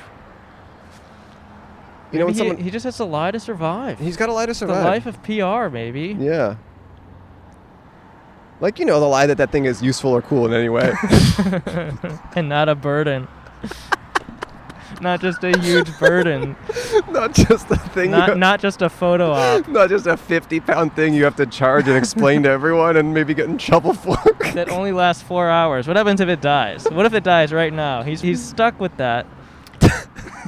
Speaker 2: You know
Speaker 4: Maybe
Speaker 2: when
Speaker 4: he,
Speaker 2: someone
Speaker 4: he just has to lie to survive.
Speaker 2: he's got a lie to
Speaker 4: the
Speaker 2: survive.
Speaker 4: life of PR, maybe.
Speaker 2: yeah. Like you know the lie that that thing is useful or cool in any way.
Speaker 4: and not a burden. not just a huge burden.
Speaker 2: not just the thing. you
Speaker 4: Not uh, not just a photo op
Speaker 2: not just a 50 pound thing you have to charge and explain to everyone and maybe get in trouble for.
Speaker 4: that only lasts four hours. What happens if it dies? What if it dies right now? He's he's stuck with that.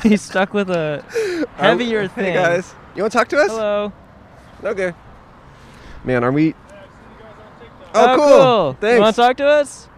Speaker 4: he's stuck with a heavier
Speaker 2: hey
Speaker 4: thing.
Speaker 2: guys, you want to talk to us?
Speaker 4: Hello.
Speaker 2: Okay. Man, are we? Oh,
Speaker 4: You want
Speaker 2: Thanks.
Speaker 4: to talk to us?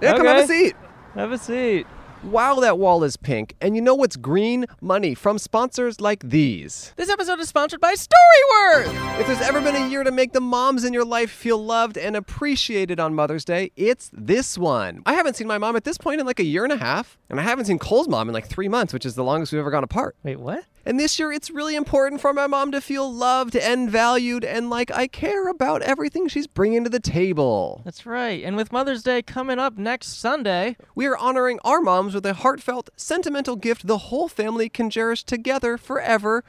Speaker 2: yeah, come have a
Speaker 4: Okay.
Speaker 2: seat.
Speaker 4: Have a seat.
Speaker 2: Wow, that wall is pink. And you know what's green? Money from sponsors like these.
Speaker 1: This episode is sponsored by Storyworth.
Speaker 2: If there's ever been a year to make the moms in your life feel loved and appreciated on Mother's Day, it's this one. I haven't seen my mom at this point in like a year and a half, and I haven't seen Cole's mom in like three months, which is the longest we've ever gone apart.
Speaker 4: Wait, what?
Speaker 2: And this year, it's really important for my mom to feel loved and valued and like I care about everything she's bringing to the table.
Speaker 4: That's right. And with Mother's Day coming up next Sunday,
Speaker 2: We are honoring our moms with a heartfelt, sentimental gift the whole family can cherish together forever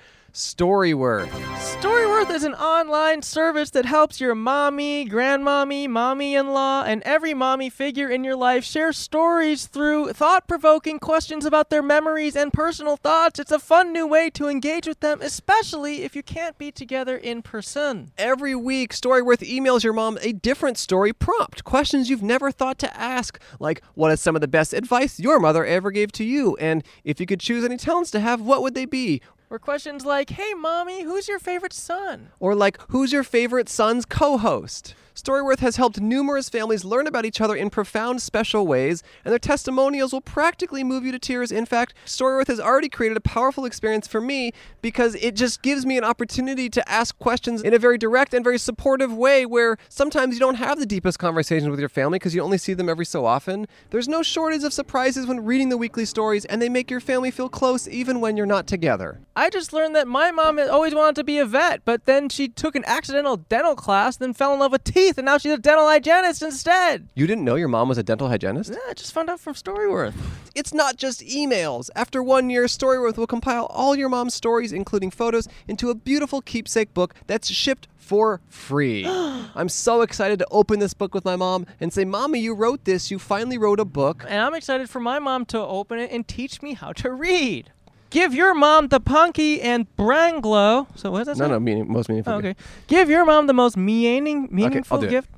Speaker 2: Storyworth.
Speaker 4: Storyworth is an online service that helps your mommy, grandmommy, mommy in law, and every mommy figure in your life share stories through thought provoking questions about their memories and personal thoughts. It's a fun new way to engage with them, especially if you can't be together in person.
Speaker 2: Every week, Storyworth emails your mom a different story prompt, questions you've never thought to ask, like what is some of the best advice your mother ever gave to you? And if you could choose any talents to have, what would they be?
Speaker 4: Or questions like, hey, mommy, who's your favorite son?
Speaker 2: Or like, who's your favorite son's co host? Storyworth has helped numerous families learn about each other in profound, special ways, and their testimonials will practically move you to tears. In fact, Storyworth has already created a powerful experience for me because it just gives me an opportunity to ask questions in a very direct and very supportive way where sometimes you don't have the deepest conversations with your family because you only see them every so often. There's no shortage of surprises when reading the weekly stories, and they make your family feel close even when you're not together.
Speaker 4: I just learned that my mom had always wanted to be a vet, but then she took an accidental dental class, then fell in love with teeth, and now she's a dental hygienist instead.
Speaker 2: You didn't know your mom was a dental hygienist?
Speaker 4: Yeah, I just found out from Storyworth.
Speaker 2: It's not just emails. After one year, Storyworth will compile all your mom's stories, including photos, into a beautiful keepsake book that's shipped for free. I'm so excited to open this book with my mom and say, Mommy, you wrote this. You finally wrote a book.
Speaker 4: and I'm excited for my mom to open it and teach me how to read. Give your mom the punky and branglo. So what is that?
Speaker 2: No,
Speaker 4: say?
Speaker 2: no, meaning, most meaningful.
Speaker 4: Oh,
Speaker 2: gift.
Speaker 4: okay. Give your mom the most meaning,
Speaker 2: I'll
Speaker 4: meaningful
Speaker 2: do it.
Speaker 4: gift.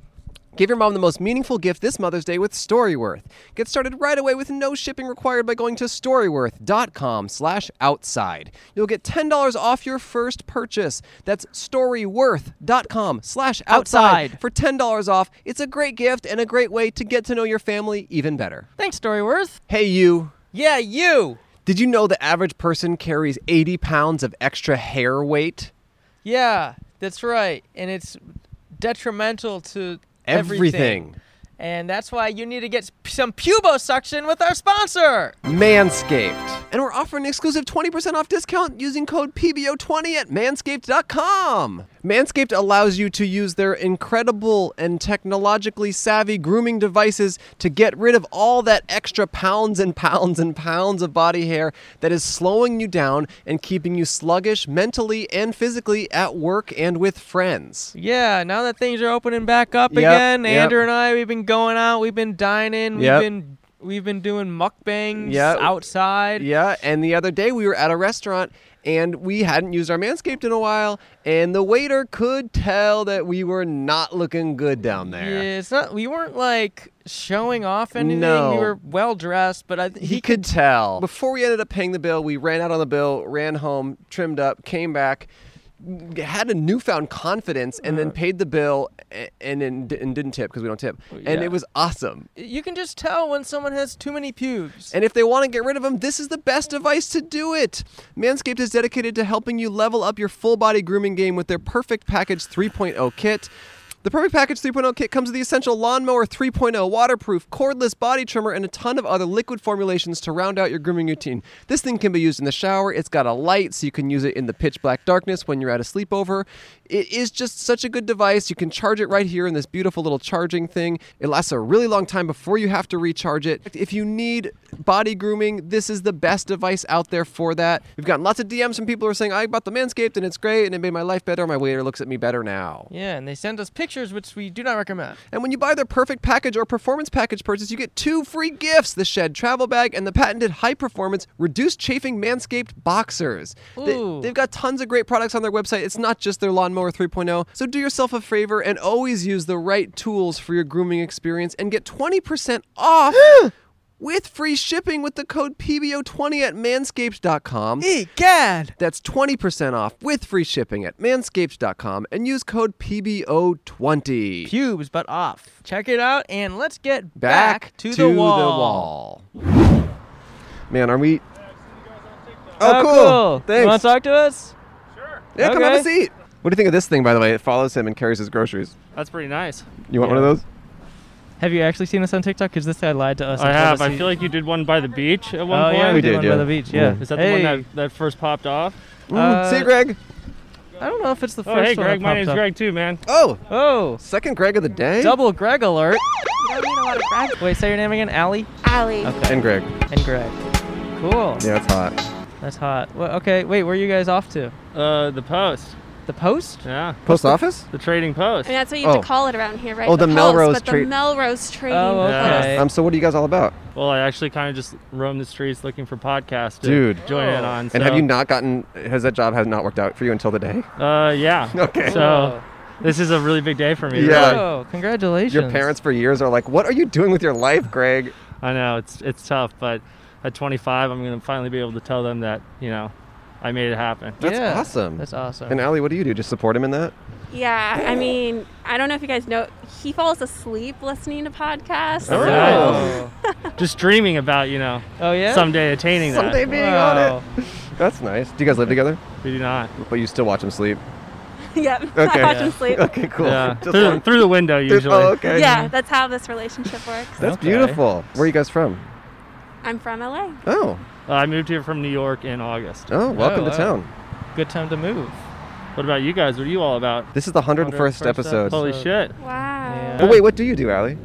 Speaker 2: Give your mom the most meaningful gift this Mother's Day with Storyworth. Get started right away with no shipping required by going to storyworth.com slash outside. You'll get $10 off your first purchase. That's storyworth.com slash outside
Speaker 4: Outside.
Speaker 2: for $10 off. It's a great gift and a great way to get to know your family even better.
Speaker 4: Thanks, Storyworth.
Speaker 2: Hey, you.
Speaker 1: Yeah, you.
Speaker 2: Did you know the average person carries 80 pounds of extra hair weight?
Speaker 1: Yeah, that's right. And it's detrimental to everything. And that's why you need to get some pubosuction with our sponsor.
Speaker 2: Manscaped. And we're offering an exclusive 20% off discount using code PBO20 at manscaped.com. Manscaped allows you to use their incredible and technologically savvy grooming devices to get rid of all that extra pounds and pounds and pounds of body hair that is slowing you down and keeping you sluggish mentally and physically at work and with friends.
Speaker 4: Yeah, now that things are opening back up
Speaker 2: Yep,
Speaker 4: again,
Speaker 2: yep.
Speaker 4: Andrew and I, we've been going out, we've been dining,
Speaker 2: Yep.
Speaker 4: we've been we've been doing mukbangs
Speaker 2: Yep.
Speaker 4: outside.
Speaker 2: Yeah, and the other day we were at a restaurant and we hadn't used our manscaped in a while, and the waiter could tell that we were not looking good down
Speaker 4: Yeah,
Speaker 2: there.
Speaker 4: it's not. We weren't like showing off anything.
Speaker 2: No.
Speaker 4: We were well dressed, but I, th-
Speaker 2: He could tell. Before we ended up paying the bill, we ran out on the bill, ran home, trimmed up, came back, had a newfound confidence, and then paid the bill a- and then d- and didn't tip because we don't tip. And
Speaker 4: yeah.
Speaker 2: it was awesome.
Speaker 4: you can just tell when someone has too many pubes.
Speaker 2: And if they want to get rid of them, this is the best device to do it. Manscaped is dedicated to helping you level up your full body grooming game with their Perfect Package 3.0 kit. The Perfect Package 3.0 kit comes with the essential lawnmower 3.0 waterproof, cordless body trimmer, and a ton of other liquid formulations to round out your grooming routine. This thing can be used in the shower. It's got a light, so you can use it in the pitch black darkness when you're at a sleepover. It is just such a good device. You can charge it right here in this beautiful little charging thing. It lasts a really long time before you have to recharge it. If you need body grooming, this is the best device out there for that. We've gotten lots of DMs from people who are saying, I bought the Manscaped and it's great and it made my life better. My waiter looks at me better now.
Speaker 4: Yeah, and they send us
Speaker 1: pictures, which we do not recommend.
Speaker 2: And when you buy their perfect package or performance package purchase, you get two free gifts the shed travel bag and the patented high performance reduced chafing manscaped boxers.
Speaker 1: Ooh.
Speaker 2: They, have got tons of great products on their website. It's not just their lawnmower 3.0. So do yourself a favor and always use the right tools for your grooming experience and get 20% off. With free shipping with the code PBO20 at manscaped.com.
Speaker 1: Egad!
Speaker 2: That's 20% off with free shipping at manscaped.com and use code PBO20.
Speaker 1: Pubes, but off. Check it out, and let's get
Speaker 2: back,
Speaker 1: back, to, the wall.
Speaker 2: wall. Man, are we?
Speaker 1: Oh, cool. You want
Speaker 2: Thanks.
Speaker 1: to talk to us?
Speaker 2: yeah, come have a
Speaker 1: okay.
Speaker 2: seat. What do you think of this thing, by the way? It follows him and carries his groceries.
Speaker 6: That's pretty nice.
Speaker 2: You want one of those?
Speaker 1: Have you actually seen us on TikTok? Because this guy lied to us.
Speaker 6: I have. I feel like you did one by the beach at one
Speaker 1: Oh
Speaker 6: point.
Speaker 1: yeah,
Speaker 2: we
Speaker 1: we did
Speaker 2: did,
Speaker 1: one
Speaker 2: yeah.
Speaker 1: by the beach.
Speaker 2: Yeah.
Speaker 1: Yeah.
Speaker 6: Is that
Speaker 1: Hey,
Speaker 6: the one that, that first popped off?
Speaker 2: Mm,
Speaker 1: Uh,
Speaker 2: see you, Greg.
Speaker 1: I don't know if it's the
Speaker 6: Oh,
Speaker 1: first
Speaker 6: hey,
Speaker 1: one.
Speaker 6: Greg.
Speaker 1: that
Speaker 6: My name's
Speaker 1: popped up.
Speaker 6: Greg, too, man.
Speaker 2: Oh,
Speaker 1: Oh,
Speaker 2: second Greg of the day.
Speaker 1: double Greg alert.
Speaker 7: I mean a lot of breath.
Speaker 1: Wait, say your name again. Allie
Speaker 7: Allie.
Speaker 2: And Greg.
Speaker 1: and Greg. Cool.
Speaker 2: Yeah, it's hot.
Speaker 1: That's hot. Well, okay, wait. Where are you guys off to?
Speaker 6: Uh, the Post.
Speaker 1: The Post?
Speaker 6: Yeah.
Speaker 2: Post office?
Speaker 6: The Trading Post.
Speaker 7: And that's what you have
Speaker 2: Oh.
Speaker 7: to call it around here, right?
Speaker 2: Oh, the
Speaker 7: post,
Speaker 2: Melrose
Speaker 7: but
Speaker 2: tree-
Speaker 7: the Melrose trading.
Speaker 1: Oh,
Speaker 7: post.
Speaker 6: Yeah.
Speaker 1: okay.
Speaker 2: Um, so what are you guys all about?
Speaker 6: Well, I actually kind of just roamed the streets looking for podcasts to
Speaker 2: Dude.
Speaker 6: join
Speaker 1: Oh.
Speaker 6: in on.
Speaker 2: And have
Speaker 6: so-
Speaker 2: you not gotten? Has that job has not worked out for you until today?
Speaker 6: Uh, yeah.
Speaker 2: Okay.
Speaker 6: So this is a really big day for me.
Speaker 2: Yeah.
Speaker 6: really.
Speaker 1: Oh, congratulations.
Speaker 2: Your parents for years are like, "What are you doing with your life, Greg?"
Speaker 6: I know it's it's tough, but at 25, I'm gonna finally be able to tell them that you know, I made it happen.
Speaker 2: That's
Speaker 1: Yeah,
Speaker 2: awesome.
Speaker 1: That's awesome.
Speaker 2: And Allie, what do you do? Just support him in that?
Speaker 7: Yeah, I mean, I don't know if you guys know, he falls asleep listening to podcasts.
Speaker 6: Oh.
Speaker 1: Oh.
Speaker 6: Just dreaming about you know
Speaker 1: oh yeah.
Speaker 6: someday attaining
Speaker 2: Someday
Speaker 6: that.
Speaker 2: being on
Speaker 1: Wow.
Speaker 2: it. That's nice. Do you guys live together?
Speaker 6: We do not.
Speaker 2: But you still watch him sleep.
Speaker 7: yep.
Speaker 2: Okay.
Speaker 7: I watch him sleep.
Speaker 2: Okay, cool.
Speaker 6: Yeah.
Speaker 2: Just
Speaker 6: Through,
Speaker 2: like-
Speaker 6: through the window usually.
Speaker 2: Oh, okay.
Speaker 7: Yeah, that's how this relationship works.
Speaker 2: That's
Speaker 6: Okay.
Speaker 2: beautiful. Where are you guys from?
Speaker 7: I'm from LA.
Speaker 2: Oh,
Speaker 6: Uh, I moved here from New York in August.
Speaker 2: oh, welcome to
Speaker 1: wow.
Speaker 2: town.
Speaker 1: Good time to move.
Speaker 6: What about you guys? What are you all about?
Speaker 2: This is the 101st,
Speaker 1: 101st
Speaker 2: episode.
Speaker 1: episode.
Speaker 6: Holy
Speaker 1: So-
Speaker 6: shit!
Speaker 7: Wow.
Speaker 1: Yeah.
Speaker 2: But wait, what do you do, Allie?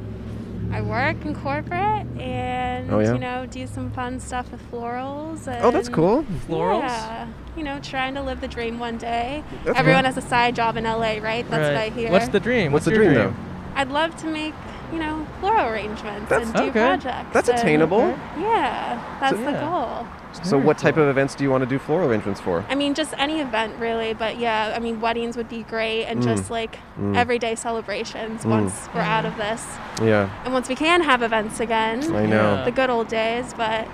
Speaker 7: I work in corporate and,
Speaker 2: Oh, yeah?
Speaker 7: you know, do some fun stuff with florals. And
Speaker 2: Oh, that's cool.
Speaker 1: Florals?
Speaker 7: Yeah. You know, trying to live the dream one day.
Speaker 2: That's
Speaker 7: Everyone has a side job in LA, right? That's what I
Speaker 1: Right.
Speaker 7: hear.
Speaker 1: What's the dream?
Speaker 2: What's the
Speaker 1: your
Speaker 2: dream, though?
Speaker 7: I'd love to make, you know, floral arrangements
Speaker 2: That's-
Speaker 7: and do
Speaker 1: okay.
Speaker 7: projects.
Speaker 2: That's
Speaker 7: and-
Speaker 2: attainable.
Speaker 7: Yeah, that's
Speaker 2: So-
Speaker 7: the
Speaker 1: Yeah.
Speaker 7: goal.
Speaker 2: So, what type of events do you want to do floral arrangements for?
Speaker 7: I mean, just any event really, but yeah, I mean, weddings would be great
Speaker 2: Mm.
Speaker 7: and just like everyday celebrations once we're out of this.
Speaker 2: Yeah,
Speaker 7: And once we can have events again,
Speaker 2: I know.
Speaker 7: the good old days, but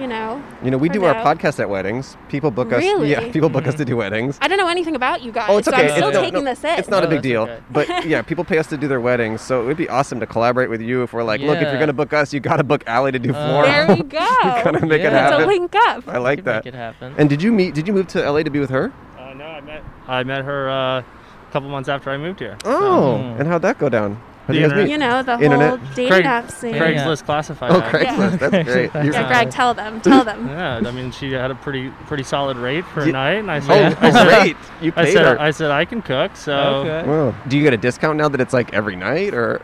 Speaker 7: you know,
Speaker 2: You know, we
Speaker 7: For
Speaker 2: do our
Speaker 7: now.
Speaker 2: podcast at weddings. People book us.
Speaker 7: Really?
Speaker 2: Yeah, people book us to do weddings.
Speaker 7: I don't know anything about you guys,
Speaker 2: Oh, it's
Speaker 7: so
Speaker 2: okay.
Speaker 7: I'm still
Speaker 2: it's, no,
Speaker 7: taking
Speaker 2: no,
Speaker 7: this in.
Speaker 2: It's not a
Speaker 1: No,
Speaker 2: big
Speaker 1: that's
Speaker 2: deal.
Speaker 1: okay.
Speaker 2: But yeah, people pay us to do their weddings, so it would be awesome to collaborate with you if we're like, look, if you're
Speaker 1: Yeah.
Speaker 2: going to book us, you got to book Allie to do floral.
Speaker 7: there we go.
Speaker 2: Gotta make it
Speaker 1: Yeah.
Speaker 7: It's
Speaker 2: happen.
Speaker 7: a link up.
Speaker 2: I like
Speaker 1: Could
Speaker 2: that.
Speaker 1: Make it happen.
Speaker 2: And did you meet? Did you move to LA to be with her?
Speaker 6: Uh, no, I met I met her uh, a couple months after I moved here.
Speaker 2: Oh,
Speaker 1: Mm.
Speaker 2: and how'd that go down? How
Speaker 6: The
Speaker 2: did you guys
Speaker 6: internet.
Speaker 2: meet?
Speaker 7: You know, the
Speaker 2: Internet.
Speaker 7: whole dating
Speaker 6: Craig-
Speaker 7: app scene.
Speaker 1: Craig- Yeah.
Speaker 6: Craigslist classified.
Speaker 2: Oh,
Speaker 6: ad.
Speaker 2: Craigslist. That's great. You're-
Speaker 7: Yeah, Greg, tell them. Tell them.
Speaker 6: Yeah, I mean, she had a pretty pretty solid rate for
Speaker 2: Ye-
Speaker 6: a night, and I
Speaker 2: oh,
Speaker 6: said, I said,
Speaker 2: great! You
Speaker 6: I
Speaker 2: paid
Speaker 6: said,
Speaker 2: her.
Speaker 6: I said I can cook. So
Speaker 1: Oh, okay.
Speaker 2: Wow. Do you get a discount now that it's like every night, or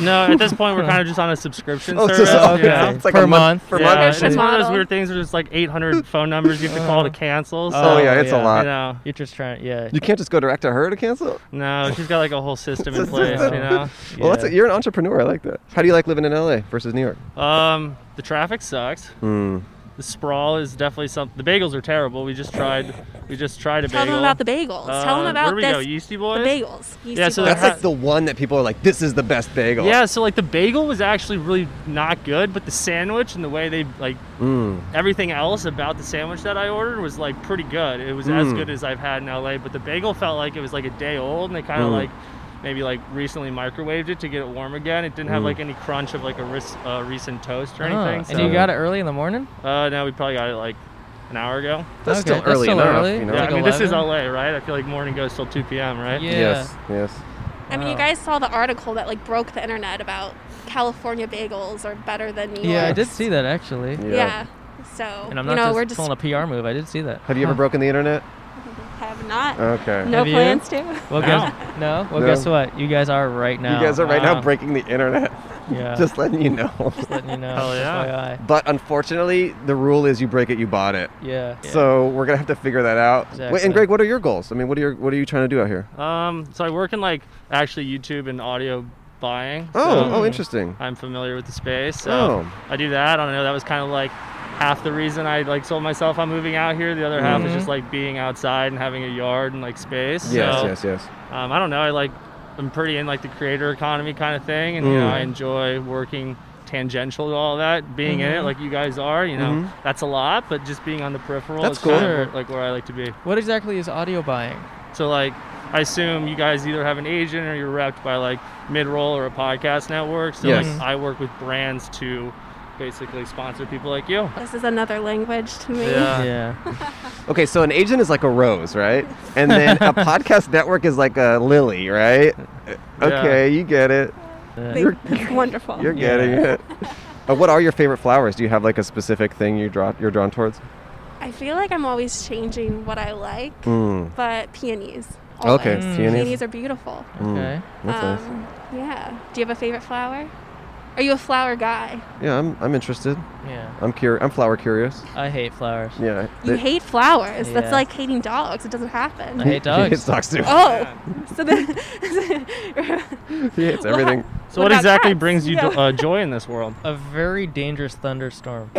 Speaker 6: no, at this point we're kind of just on a subscription
Speaker 2: Oh, it's
Speaker 6: service.
Speaker 2: just-
Speaker 6: you
Speaker 2: okay.
Speaker 6: know?
Speaker 2: It's like
Speaker 1: Per
Speaker 2: a month,
Speaker 1: month.
Speaker 2: per
Speaker 6: yeah,
Speaker 2: month.
Speaker 6: it's one of those
Speaker 7: Model.
Speaker 6: weird things. Where it's like 800 phone numbers you have to call to cancel. So,
Speaker 2: Oh, yeah, it's a
Speaker 1: yeah.
Speaker 2: lot.
Speaker 6: You know,
Speaker 1: You're just trying. Yeah.
Speaker 2: You can't just go direct to her to cancel.
Speaker 6: no, she's got like a whole system in
Speaker 2: It's a
Speaker 6: place. You
Speaker 2: system.
Speaker 6: know,
Speaker 2: Well, that's a, you're an entrepreneur. I like that. How do you like living in LA versus New York?
Speaker 6: um, the traffic sucks.
Speaker 2: Mm.
Speaker 6: The sprawl is definitely something. The bagels are terrible. We just tried. We just tried a
Speaker 7: Tell
Speaker 6: bagel.
Speaker 7: them about the bagels. tell them
Speaker 6: Uh,
Speaker 7: about
Speaker 6: where do we
Speaker 7: this.
Speaker 6: go? Yeasty Boys.
Speaker 7: The bagels. Yeasty
Speaker 6: Yeah, so
Speaker 7: boys.
Speaker 2: That's like the one that people are like, "This is the best bagel."
Speaker 6: Yeah, so like the bagel was actually really not good, but the sandwich and the way they like
Speaker 2: Mm.
Speaker 6: everything else about the sandwich that I ordered was like pretty good. It was as
Speaker 2: Mm.
Speaker 6: good as I've had in LA, but the bagel felt like it was like a day old and they kind of
Speaker 2: Mm.
Speaker 6: like maybe like recently microwaved it to get it warm again. It didn't have like any crunch of like a ris- uh, recent toast or
Speaker 1: Huh.
Speaker 6: anything.
Speaker 1: Ah,
Speaker 4: Ah.
Speaker 1: And you
Speaker 6: so-
Speaker 1: got it early in the morning.
Speaker 6: Uh, no, we probably got it like an hour ago.
Speaker 2: That's
Speaker 1: Okay,
Speaker 2: still
Speaker 1: that's
Speaker 2: early
Speaker 1: still
Speaker 2: enough.
Speaker 1: early.
Speaker 2: You know?
Speaker 6: Yeah, I
Speaker 1: Like
Speaker 6: mean this is
Speaker 1: 11?
Speaker 6: LA, right? I feel like morning goes till 2 p.m., right?
Speaker 1: Yeah.
Speaker 2: Yes. Yes.
Speaker 7: I mean, you
Speaker 1: Wow.
Speaker 7: guys saw the article that like broke the internet about California bagels are better than New
Speaker 1: Yeah, I
Speaker 7: York's.
Speaker 1: did see that actually.
Speaker 2: Yeah.
Speaker 7: Yeah. So
Speaker 1: And I'm not
Speaker 7: you know,
Speaker 1: just
Speaker 7: we're just
Speaker 1: pulling a PR move. I did see that.
Speaker 2: Have you ever broken the internet?
Speaker 7: have not.
Speaker 2: Okay.
Speaker 7: no
Speaker 1: Have you?
Speaker 7: plans to.
Speaker 1: Well, guess no. Well,
Speaker 2: No.
Speaker 1: guess what? You guys are right now.
Speaker 2: You guys are right
Speaker 6: uh,
Speaker 2: now breaking the internet.
Speaker 1: Yeah.
Speaker 2: Just letting you know.
Speaker 1: letting you know.
Speaker 6: Hell yeah.
Speaker 1: FYI.
Speaker 2: But unfortunately, the rule is you break it, you bought it.
Speaker 1: Yeah.
Speaker 2: So we're gonna have to figure that out. Wait,
Speaker 1: Exactly.
Speaker 2: and Greg, what are your goals? I mean, what are your what are you trying to do out here?
Speaker 6: Um, so I work in like actually YouTube and audio buying.
Speaker 2: Oh,
Speaker 6: so
Speaker 2: oh, interesting.
Speaker 6: I'm familiar with the space. So
Speaker 2: Oh.
Speaker 6: I do that. I don't know. That was kind of like half the reason I like sold myself on moving out here. The other half
Speaker 2: Mm-hmm.
Speaker 6: is just like being outside and having a yard and like space.
Speaker 2: Yes,
Speaker 6: so,
Speaker 2: yes, yes.
Speaker 6: Um, I don't know. I like I'm pretty in like the creator economy kind of thing, and you know I
Speaker 2: Mm.
Speaker 6: enjoy working tangential to all that, being in it
Speaker 2: Mm-hmm.
Speaker 6: like you guys are. You know that's a lot, but just being on the peripheral
Speaker 2: That's
Speaker 6: is kind
Speaker 2: cool.
Speaker 6: of like where I like to be.
Speaker 1: What exactly is audio buying?
Speaker 6: So like, I assume you guys either have an agent or you're repped by like Midroll or a podcast network. So
Speaker 2: Yes.
Speaker 6: like, I work with brands to basically sponsor people like you.
Speaker 7: This is another language to me.
Speaker 2: Uh,
Speaker 6: Yeah.
Speaker 1: yeah.
Speaker 2: Okay, so an agent is like a rose, right? And then a podcast network is like a lily, right? Okay, you get it.
Speaker 7: They-
Speaker 2: You're-
Speaker 7: it's wonderful.
Speaker 2: You're getting it. Uh, what are your favorite flowers? Do you have like a specific thing you draw you're drawn towards?
Speaker 7: I feel like I'm always changing what I like,
Speaker 2: Mm.
Speaker 7: but peonies.
Speaker 2: Okay,
Speaker 7: always.
Speaker 1: Mm.
Speaker 2: peonies.
Speaker 7: Peonies are beautiful.
Speaker 1: Okay.
Speaker 2: hmm. That's nice.
Speaker 7: um, Yeah. Do you have a favorite flower? Are you a flower guy?
Speaker 2: Yeah, I'm, I'm interested.
Speaker 1: Yeah.
Speaker 2: I'm cur- I'm flower curious.
Speaker 1: I hate flowers.
Speaker 2: Yeah.
Speaker 7: You
Speaker 2: They-
Speaker 7: hate flowers. That's
Speaker 1: Yeah.
Speaker 7: like hating dogs. It doesn't happen.
Speaker 1: I hate dogs.
Speaker 2: He sucks too.
Speaker 7: Oh, so then.
Speaker 2: He hates everything.
Speaker 6: So what, exactly
Speaker 7: cats?
Speaker 6: brings you
Speaker 7: Yeah.
Speaker 6: uh, joy in this world?
Speaker 1: A very dangerous thunderstorm.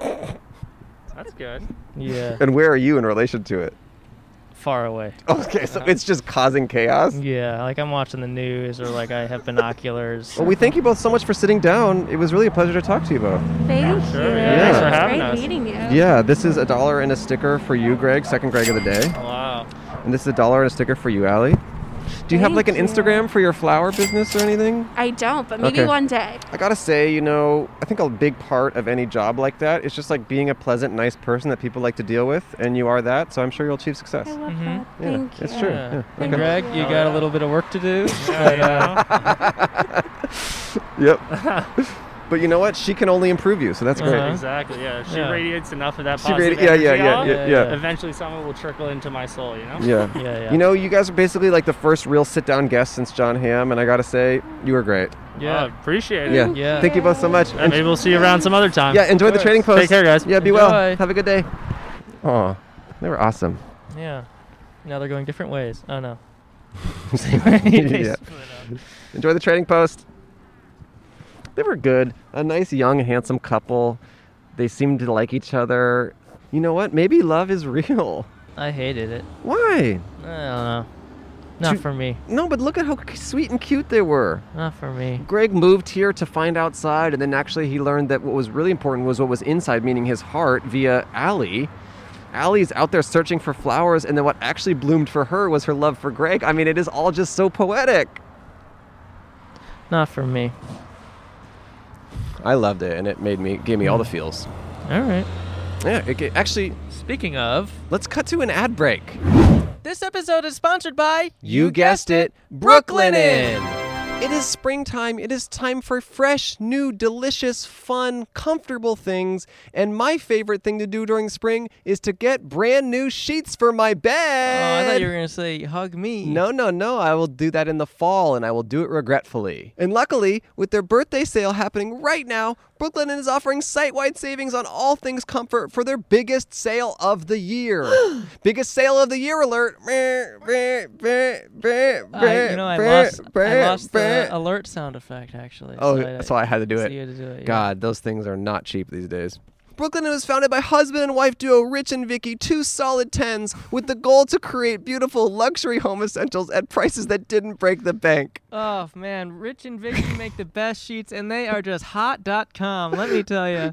Speaker 6: That's good.
Speaker 1: Yeah.
Speaker 2: And where are you in relation to it?
Speaker 1: Far away.
Speaker 2: Okay,
Speaker 7: Uh-huh.
Speaker 2: so it's just causing chaos.
Speaker 1: Yeah. Like I'm watching the news or like I have binoculars.
Speaker 2: Well, we thank you both so much for sitting down. It was really a pleasure to talk to you both.
Speaker 7: Thank
Speaker 6: Sure,
Speaker 7: you.
Speaker 6: yeah.
Speaker 2: Thanks for
Speaker 7: It's
Speaker 6: having
Speaker 7: Great
Speaker 6: us.
Speaker 7: meeting you.
Speaker 2: Yeah, this is a dollar and a sticker for you, Greg, second Greg of the day.
Speaker 6: Wow.
Speaker 2: And this is a dollar and a sticker for you, Allie. Do you have like
Speaker 7: Thank
Speaker 2: an
Speaker 7: you.
Speaker 2: Instagram for your flower business or anything?
Speaker 7: I don't, but maybe
Speaker 2: Okay.
Speaker 7: one day.
Speaker 2: I gotta say, you know, I think a big part of any job like that is just like being a pleasant, nice person that people like to deal with, and you are that, so I'm sure you'll achieve success.
Speaker 7: I love
Speaker 1: Mhm.
Speaker 6: Mm-hmm.
Speaker 7: that.
Speaker 2: Yeah,
Speaker 7: Thank you.
Speaker 2: it's true.
Speaker 1: Yeah.
Speaker 2: Yeah,
Speaker 1: And
Speaker 7: okay.
Speaker 1: Greg, you
Speaker 6: Oh,
Speaker 1: got
Speaker 6: yeah.
Speaker 1: a little bit of work to do.
Speaker 6: Yeah, you know?
Speaker 2: Yep. but you know what? She can only improve you, so that's great.
Speaker 1: Uh-huh.
Speaker 6: Exactly. Yeah. She
Speaker 1: Yeah.
Speaker 6: radiates enough of that
Speaker 2: She
Speaker 6: positive
Speaker 2: radi- yeah, yeah,
Speaker 6: energy
Speaker 2: yeah,
Speaker 6: out,
Speaker 2: yeah,
Speaker 1: Yeah.
Speaker 2: yeah.
Speaker 6: Eventually, someone will trickle into my soul. You know.
Speaker 2: Yeah.
Speaker 1: Yeah, yeah.
Speaker 2: You know, you guys are basically like the first real sit-down guest since John Hamm, and I gotta say, you were great.
Speaker 6: Yeah.
Speaker 1: Yeah.
Speaker 6: appreciate it.
Speaker 2: Yeah.
Speaker 1: Yeah.
Speaker 2: Thank you both so much.
Speaker 6: And maybe we'll see you around some other time.
Speaker 2: Yeah, enjoy the trading post.
Speaker 6: Take care, guys.
Speaker 2: Yeah, be well.
Speaker 1: Enjoy.
Speaker 2: Have a good day. Oh, they were awesome.
Speaker 1: Yeah. Now they're going different ways. Oh no.
Speaker 2: Yeah. Enjoy the trading post. They were good. A nice, young, handsome couple. They seemed to like each other. You know what? Maybe love is real.
Speaker 1: I hated it.
Speaker 2: Why?
Speaker 1: I don't know. Not
Speaker 2: Too-
Speaker 1: for me.
Speaker 2: No, but look at how c- sweet and cute they were.
Speaker 1: Not for me.
Speaker 2: Greg moved here to find outside, and then actually he learned that what was really important was what was inside, meaning his heart, via Allie. Allie's out there searching for flowers, and then what actually bloomed for her was her love for Greg. I mean, it is all just so poetic.
Speaker 1: Not for me.
Speaker 2: I loved it, and it made me gave me all the feels.
Speaker 1: All right.
Speaker 2: Yeah, it, it- actually,
Speaker 1: Speaking of,
Speaker 2: let's cut to an ad break.
Speaker 1: this episode is sponsored by
Speaker 2: You guessed it, Brooklinen. It is springtime. It is time for fresh, new, delicious, fun, comfortable things. And my favorite thing to do during spring is to get brand new sheets for my
Speaker 1: Oh, I
Speaker 2: bed.
Speaker 1: thought you were gonna say hug me. Uh,
Speaker 2: No, no, no. I will do that in the fall and I will do it regretfully. And luckily, with their birthday sale happening right now, Brooklyn is offering site wide savings on all things comfort for their biggest sale of the year. biggest sale of the year alert.
Speaker 1: I, Uh, you know, I lost, I lost the uh, alert sound effect actually.
Speaker 2: Oh, so I had to do
Speaker 1: so
Speaker 2: it.
Speaker 1: you had to do it, yeah.
Speaker 2: God, those things are not cheap these days. Brooklyn was founded by husband and wife duo Rich and Vicky, two solid tens, with the goal to create beautiful luxury home essentials at prices that didn't break the bank.
Speaker 1: Oh man, Rich and Vicky make the best sheets, and they are just hot.com. Let me tell you.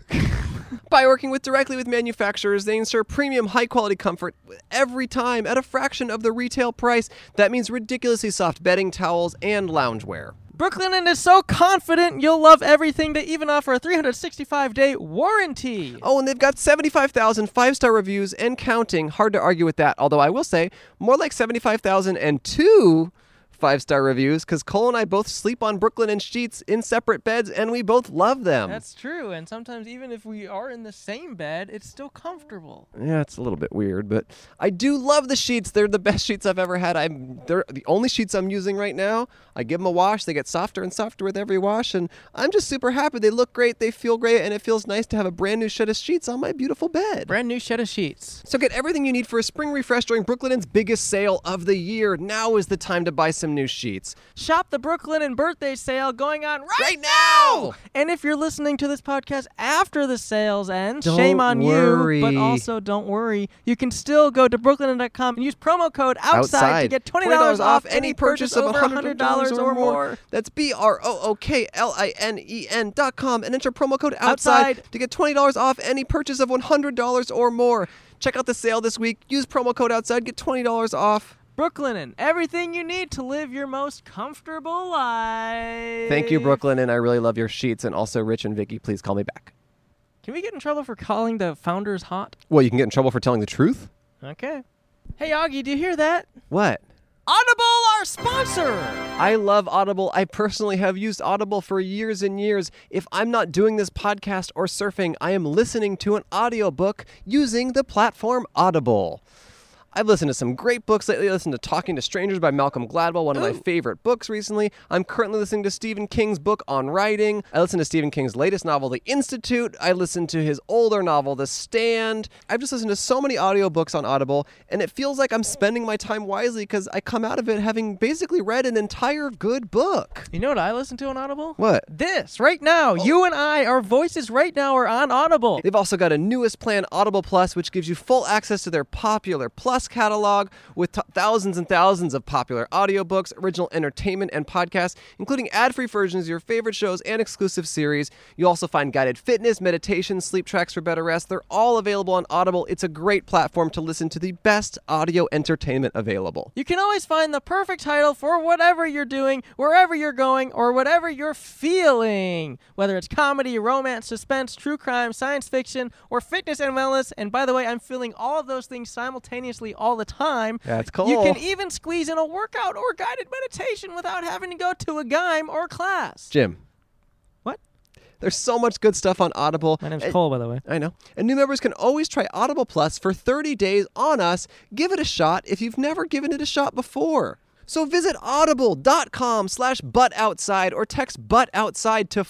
Speaker 2: By working with directly with manufacturers, they ensure premium high quality comfort every time at a fraction of the retail price. That means ridiculously soft bedding, towels, and loungewear.
Speaker 1: Brooklinen is so confident you'll love everything. They even offer a 365 day warranty.
Speaker 2: Oh, and they've got 75,000 five star reviews and counting. Hard to argue with that, although I will say more like 75,002 five five star reviews because Cole and I both sleep on Brooklyn and Sheets in separate beds, and we both love them.
Speaker 4: That's true. And sometimes, even if we are in the same bed, it's still comfortable.
Speaker 2: yeah, it's a little bit weird, but I do love the sheets. They're the best sheets I've ever had. I'm they're the only sheets I'm using right now. I give them a wash. They get softer and softer with every wash, and I'm just super happy. They look great. They feel great, and it feels nice to have a brand new set of sheets on my beautiful bed.
Speaker 4: Brand new shed of sheets.
Speaker 2: So get everything you need for a spring refresh during Brooklinen's biggest sale of the year. Now is the time to buy some new sheets.
Speaker 4: Shop the Brooklyn and birthday sale going on right,
Speaker 2: Right now!
Speaker 4: And if you're listening to this podcast after the sales end,
Speaker 2: Don't
Speaker 4: shame on you. But
Speaker 2: worry.
Speaker 4: also, don't worry. You can still go to brooklinen.com and use promo code outside, to
Speaker 2: outside
Speaker 4: get $20, off any purchase of
Speaker 2: over
Speaker 4: $100 or more.
Speaker 2: That's B R O O K L I N E N dot com and enter promo code outside,
Speaker 4: Outside.
Speaker 2: to get twenty dollars off any purchase of one hundred dollars or more. Check out the sale this week. Use promo code outside, get twenty dollars off.
Speaker 4: Brooklinen, everything you need to live your most comfortable life.
Speaker 2: Thank you, Brooklyn, and I really love your sheets. And also, Rich and Vicky, please call me back.
Speaker 4: Can we get in trouble for calling the founders hot?
Speaker 2: Well, you can get in trouble for telling the truth.
Speaker 4: Okay. Hey, Augie, do you hear that?
Speaker 2: What?
Speaker 4: Audible, our sponsor!
Speaker 2: I love Audible. I personally have used Audible for years and years. If I'm not doing this podcast or surfing, I am listening to an audiobook using the platform Audible. I've listened to some great books lately. I listened to Talking to Strangers by Malcolm Gladwell, one of my favorite books recently. I'm currently listening to Stephen King's book on writing. I listened to Stephen King's latest novel, The Institute. I listened to his older novel, The Stand. I've just listened to so many audiobooks on Audible, and it feels like I'm spending my time wisely because I come out of it having basically read an entire good book.
Speaker 4: You know what I listen to on Audible?
Speaker 2: What?
Speaker 4: This, right now. You and I, our voices right now are on Audible.
Speaker 2: They've also got a newest plan, Audible Plus, which gives you full access to their popular Plus catalog with t- thousands and thousands of popular audiobooks, original entertainment, and podcasts, including ad free versions of your favorite shows and exclusive series. You'll also find guided fitness, meditation, sleep tracks for better rest. They're all available on Audible. It's a great platform to listen to the best audio entertainment available.
Speaker 4: You can always find the perfect title for whatever you're doing, wherever you're going, or whatever you're feeling. Whether it's comedy, romance, suspense, true crime, science fiction, or fitness and wellness. And by the way, I'm feeling all of those things simultaneously all the time.
Speaker 2: That's
Speaker 4: You
Speaker 2: cool.
Speaker 4: can even squeeze in a workout or guided meditation without having to go to a gym or class.
Speaker 2: Jim.
Speaker 4: What?
Speaker 2: There's so much good stuff on Audible.
Speaker 4: My name's
Speaker 2: And-
Speaker 4: Cole, by the way.
Speaker 2: I know. And new members can always try Audible Plus for 30 days on us. Give it a shot if you've never given it a shot before. So visit audible.com slash buttoutside or text buttoutside to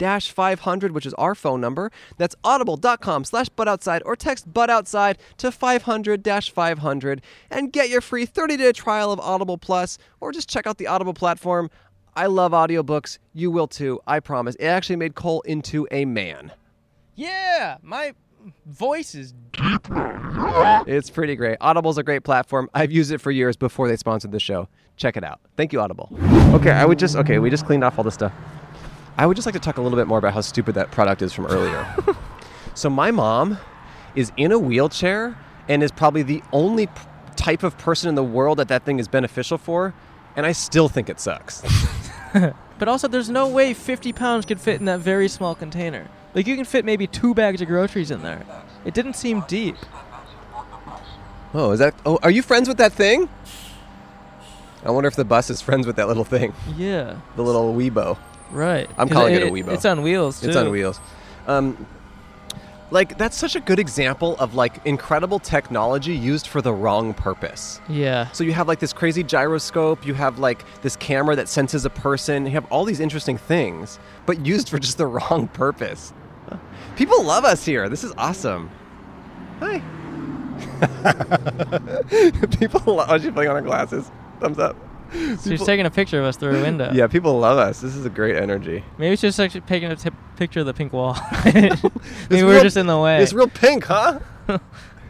Speaker 2: 500-500, which is our phone number. That's audible.com slash buttoutside or text buttoutside to 500-500 and get your free 30-day trial of Audible Plus or just check out the Audible platform. I love audiobooks. You will too, I promise. It actually made Cole into a man.
Speaker 4: Yeah, my voice is
Speaker 2: It's pretty great. Audible's a great platform. I've used it for years before they sponsored the show. Check it out. Thank you, Audible. Okay, I would just okay, we just cleaned off all this stuff. I would just like to talk a little bit more about how stupid that product is from earlier. so my mom is in a wheelchair and is probably the only p- type of person in the world that that thing is beneficial for, and I still think it sucks.
Speaker 4: But also, there's no way 50 pounds could fit in that very small container. Like, you can fit maybe two bags of groceries in there. It didn't seem deep.
Speaker 2: Oh, is that Oh, are you friends with that thing? I wonder if the bus is friends with that little thing,
Speaker 4: Yeah,
Speaker 2: the little Weibo.
Speaker 4: right.
Speaker 2: I'm
Speaker 4: 'Cause
Speaker 2: calling it a Weibo.
Speaker 4: It's on wheels, too.
Speaker 2: It's on wheels. Um, like that's such a good example of like incredible technology used for the wrong purpose.
Speaker 4: Yeah.
Speaker 2: So you have like this crazy gyroscope, you have like this camera that senses a person, you have all these interesting things, but used for just the wrong purpose. People love us here. This is awesome. Hi. People love oh, she's putting on her glasses. Thumbs up.
Speaker 4: So she's
Speaker 2: People-
Speaker 4: taking a picture of us through a window.
Speaker 2: yeah, people love us. This is a great energy.
Speaker 4: Maybe she's actually taking a t- picture of the pink wall. Maybe
Speaker 2: It's
Speaker 4: we're
Speaker 2: real-
Speaker 4: just in the way.
Speaker 2: It's real pink, huh?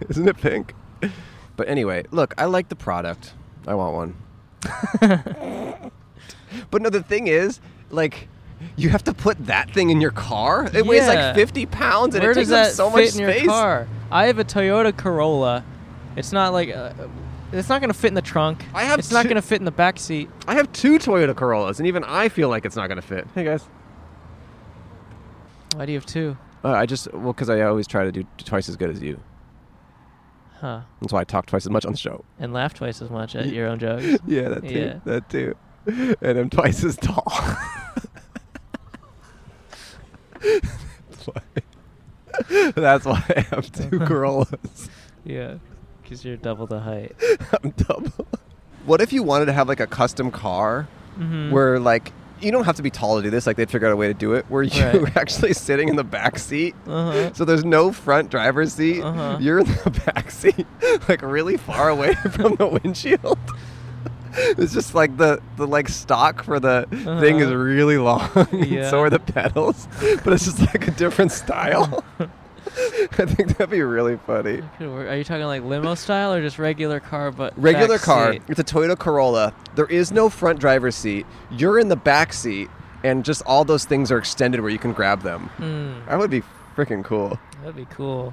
Speaker 2: Isn't it pink? But anyway, look, I like the product. I want one. but no, the thing is, like, you have to put that thing in your car. It weighs
Speaker 4: Yeah.
Speaker 2: like 50 pounds and
Speaker 4: Where
Speaker 2: it takes
Speaker 4: does that
Speaker 2: up so
Speaker 4: fit
Speaker 2: much
Speaker 4: in your
Speaker 2: space.
Speaker 4: car? I have a Toyota Corolla. It's not like. Uh, it's not going to fit in the trunk.
Speaker 2: I have
Speaker 4: It's not
Speaker 2: two-
Speaker 4: going to fit in the back seat.
Speaker 2: I have two Toyota Corollas, and even I feel like it's not going to fit. Hey, guys.
Speaker 4: Why do you have two?
Speaker 2: Uh, I just, well, because I always try to do twice as good as you.
Speaker 4: Huh.
Speaker 2: That's why I talk twice as much on the show.
Speaker 4: And laugh twice as much at your own jokes.
Speaker 2: Yeah, that too.
Speaker 4: Yeah.
Speaker 2: That too. And I'm twice as tall. That's why. That's why I have two gorillas.
Speaker 4: Yeah. Because you're double the height.
Speaker 2: I'm double. What if you wanted to have like a custom car
Speaker 4: Mhm.
Speaker 2: where like you don't have to be tall to do this? Like they'd figure out a way to do it where you're
Speaker 4: Right.
Speaker 2: actually sitting in the back seat.
Speaker 4: Uh-huh.
Speaker 2: So there's no front driver's seat.
Speaker 4: Uh-huh.
Speaker 2: You're in the back seat, like really far away from the windshield. It's just like the, the like stock for the thing is
Speaker 4: Uh-huh.
Speaker 2: really long. and
Speaker 4: Yeah.
Speaker 2: So are the pedals, but it's just like a different style. I think that'd be really funny.
Speaker 4: Could work. Are you talking like limo style or just regular car? But
Speaker 2: Regular
Speaker 4: back
Speaker 2: car.
Speaker 4: seat?
Speaker 2: It's a Toyota Corolla. There is no front driver's seat. You're in the back seat, and just all those things are extended where you can grab them.
Speaker 4: Mm,
Speaker 2: That would be freaking cool.
Speaker 4: that'd be cool.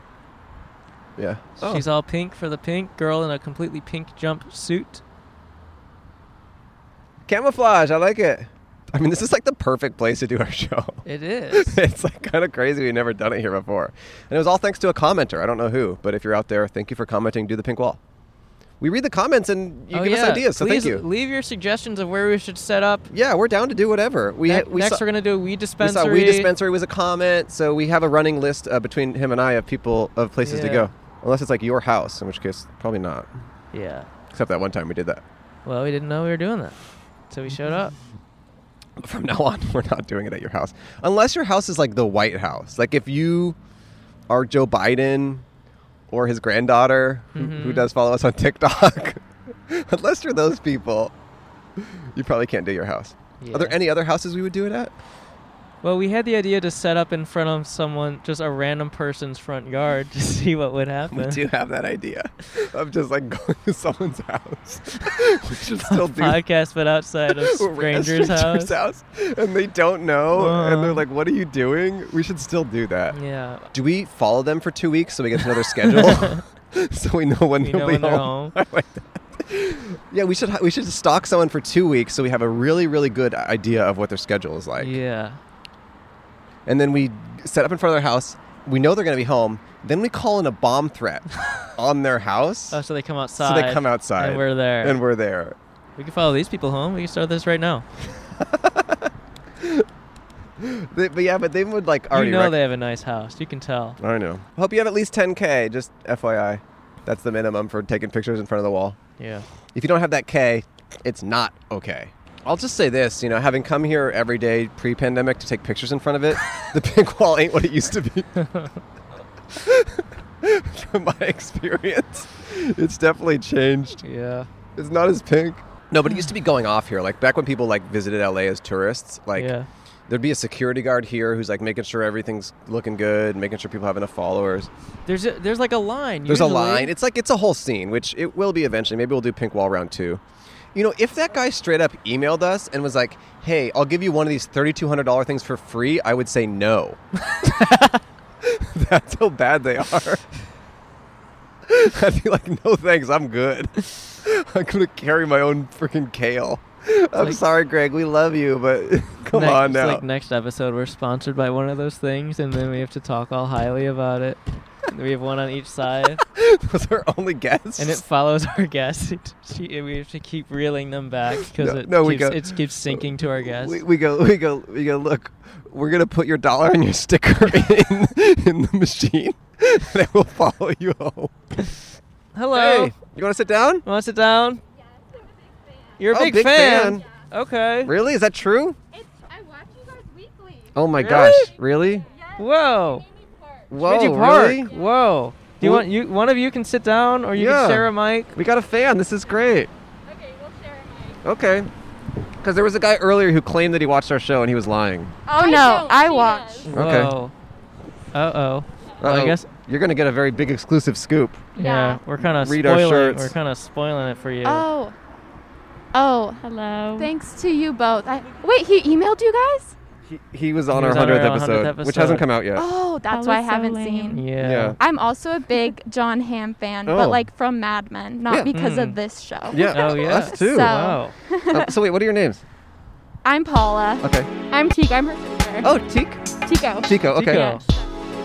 Speaker 2: Yeah.
Speaker 4: She's all pink for the pink girl in a completely pink jumpsuit.
Speaker 2: Camouflage. I like it. I mean, this is like the perfect place to do our show.
Speaker 4: It is.
Speaker 2: it's like kind of crazy. We've never done it here before. And it was all thanks to a commenter. I don't know who, but if you're out there, thank you for commenting. Do the pink wall. We read the comments and you
Speaker 4: oh,
Speaker 2: give
Speaker 4: yeah.
Speaker 2: us ideas. So
Speaker 4: Please
Speaker 2: thank you.
Speaker 4: Leave your suggestions of where we should set up.
Speaker 2: Yeah, we're down to do whatever. We
Speaker 4: Ne-
Speaker 2: we
Speaker 4: next,
Speaker 2: saw,
Speaker 4: we're gonna do a weed
Speaker 2: we saw
Speaker 4: dispensary.
Speaker 2: Wii dispensary was a comment. So we have a running list uh, between him and I of people of places to
Speaker 4: Yeah.
Speaker 2: go. Unless it's like your house, in which case probably not.
Speaker 4: Yeah.
Speaker 2: Except that one time we did that.
Speaker 4: Well, we didn't know we were doing that, so we showed up.
Speaker 2: from now on we're not doing it at your house unless your house is like the white house like if you are joe biden or his granddaughter who- who
Speaker 4: Mhm.
Speaker 2: does follow us on tiktok unless you're those people you probably can't do your house are there
Speaker 4: Yeah.
Speaker 2: any other houses we would do it at
Speaker 4: Well, we had the idea to set up in front of someone, just a random person's front yard, to see what would happen.
Speaker 2: we do have that idea of just like going to someone's house we should still do
Speaker 4: Podcast, but outside of
Speaker 2: We're at
Speaker 4: strangers' house.
Speaker 2: and they don't know and they're
Speaker 4: Uh-huh.
Speaker 2: like what are you doing we should still do that
Speaker 4: Yeah.
Speaker 2: Do we follow them for two weeks so we get to know their schedule? so we know when
Speaker 4: We
Speaker 2: they'll
Speaker 4: know
Speaker 2: be
Speaker 4: when they're
Speaker 2: home.
Speaker 4: home.
Speaker 2: I like that. Yeah, we should we should stalk someone for two weeks so we have a really really good idea of what their schedule is like,
Speaker 4: yeah.
Speaker 2: and then we set up in front of their house. We know they're going to be home. Then we call in a bomb threat on their house,
Speaker 4: Oh, so they come
Speaker 2: so
Speaker 4: outside.
Speaker 2: they come outside
Speaker 4: And we're there.
Speaker 2: And we're there.
Speaker 4: we can follow these people home. We can start this right now.
Speaker 2: They- but yeah, but they would like already.
Speaker 4: you know
Speaker 2: rec-
Speaker 4: they have a nice house. You can tell.
Speaker 2: I know. Hope you have at least 10k. Just FYI, that's the minimum for taking pictures in front of the wall.
Speaker 4: Yeah.
Speaker 2: if you don't have that K, it's not okay. I'll just say this, you know, having come here every day pre-pandemic to take pictures in front of it, the pink wall ain't what it used to be. From my experience, it's definitely changed.
Speaker 4: Yeah.
Speaker 2: It's not as pink. No, but it used to be going off here. Like back when people like visited LA as tourists, like
Speaker 4: yeah.
Speaker 2: there'd be a security guard here who's like making sure everything's looking good, making sure people have enough followers.
Speaker 4: There's a, there's like a line.
Speaker 2: There's a
Speaker 4: usually.
Speaker 2: line. It's like it's a whole scene, which it will be eventually. Maybe we'll do Pink Wall round two. You know, if that guy straight up emailed us and was like, "Hey, I'll give you one of these thirty-two hundred dollar things for free," I would say no. That's how bad they are. I'd be like, "No thanks, I'm good. I'm gonna carry my own freaking kale." I'm
Speaker 4: like-
Speaker 2: sorry, Greg. We love you, but come
Speaker 4: Next-
Speaker 2: on
Speaker 4: it's
Speaker 2: now.
Speaker 4: Like next episode, we're sponsored by one of those things, and then we have to talk all highly about it. And we have one on each side,
Speaker 2: Those are only guests.
Speaker 4: and it follows our guest. It- she- we have to keep reeling them back because
Speaker 2: No-
Speaker 4: it
Speaker 2: no, we
Speaker 4: keeps,
Speaker 2: got-
Speaker 4: it keeps sinking to our guest.
Speaker 2: We, we go, we go, we go. Look, we're gonna put your dollar and your sticker in in the machine, and I will follow you home.
Speaker 4: Hello,
Speaker 2: you want to sit down?
Speaker 4: want to sit down? You're a
Speaker 2: Oh,
Speaker 4: big,
Speaker 2: big
Speaker 4: fan.
Speaker 2: fan.
Speaker 4: Okay.
Speaker 2: Really? Is that true?
Speaker 7: It's, I watch you guys weekly.
Speaker 2: Oh my
Speaker 4: Really?
Speaker 2: gosh! Really?
Speaker 7: Yes,
Speaker 4: Whoa.
Speaker 7: Amy Park.
Speaker 2: Whoa!
Speaker 4: Reggie Park.
Speaker 2: Oh, Really?
Speaker 4: Whoa. Do you
Speaker 2: Who-
Speaker 4: want you one of you can sit down or you
Speaker 2: Yeah.
Speaker 4: can share a mic?
Speaker 2: We got a fan. This is great.
Speaker 7: Okay, we'll share mine.
Speaker 2: Okay. Because there was a guy earlier who claimed that he watched our show and he was lying.
Speaker 7: Oh
Speaker 8: no, I watch.
Speaker 7: watch.
Speaker 2: Okay.
Speaker 4: Whoa. Uh oh.
Speaker 2: Uh-oh.
Speaker 4: I guess
Speaker 2: you're gonna get a very big exclusive scoop.
Speaker 4: yeah,
Speaker 7: Yeah.
Speaker 4: we're kind of
Speaker 2: Read our
Speaker 4: spoiling.
Speaker 2: shirts.
Speaker 4: We're kind of spoiling it for you.
Speaker 8: Oh. Oh,
Speaker 7: Hello.
Speaker 8: thanks to you both. I Wait, he emailed you guys?
Speaker 2: He, he was on
Speaker 4: He
Speaker 2: our
Speaker 4: was on our
Speaker 2: hundredth
Speaker 4: 100th
Speaker 2: episode, which hasn't
Speaker 4: episode.
Speaker 2: come out yet.
Speaker 8: Oh, that's
Speaker 7: That
Speaker 8: why I
Speaker 7: was so
Speaker 8: haven't
Speaker 7: lame.
Speaker 8: seen.
Speaker 4: yeah.
Speaker 2: Yeah.
Speaker 8: I'm also a big John Hamm fan,
Speaker 2: Oh.
Speaker 8: but like from Mad Men, not
Speaker 2: Yeah.
Speaker 8: because
Speaker 4: Mm.
Speaker 8: of this show.
Speaker 2: Yeah.
Speaker 4: Oh yeah.
Speaker 2: Us too.
Speaker 8: So-
Speaker 4: Wow.
Speaker 2: Uh, so wait, what are your names?
Speaker 8: I'm Paula.
Speaker 2: Okay.
Speaker 8: I'm Teague. I'm her sister.
Speaker 2: Oh, Teek.
Speaker 8: Tico.
Speaker 2: Chico. Okay.
Speaker 4: Chico.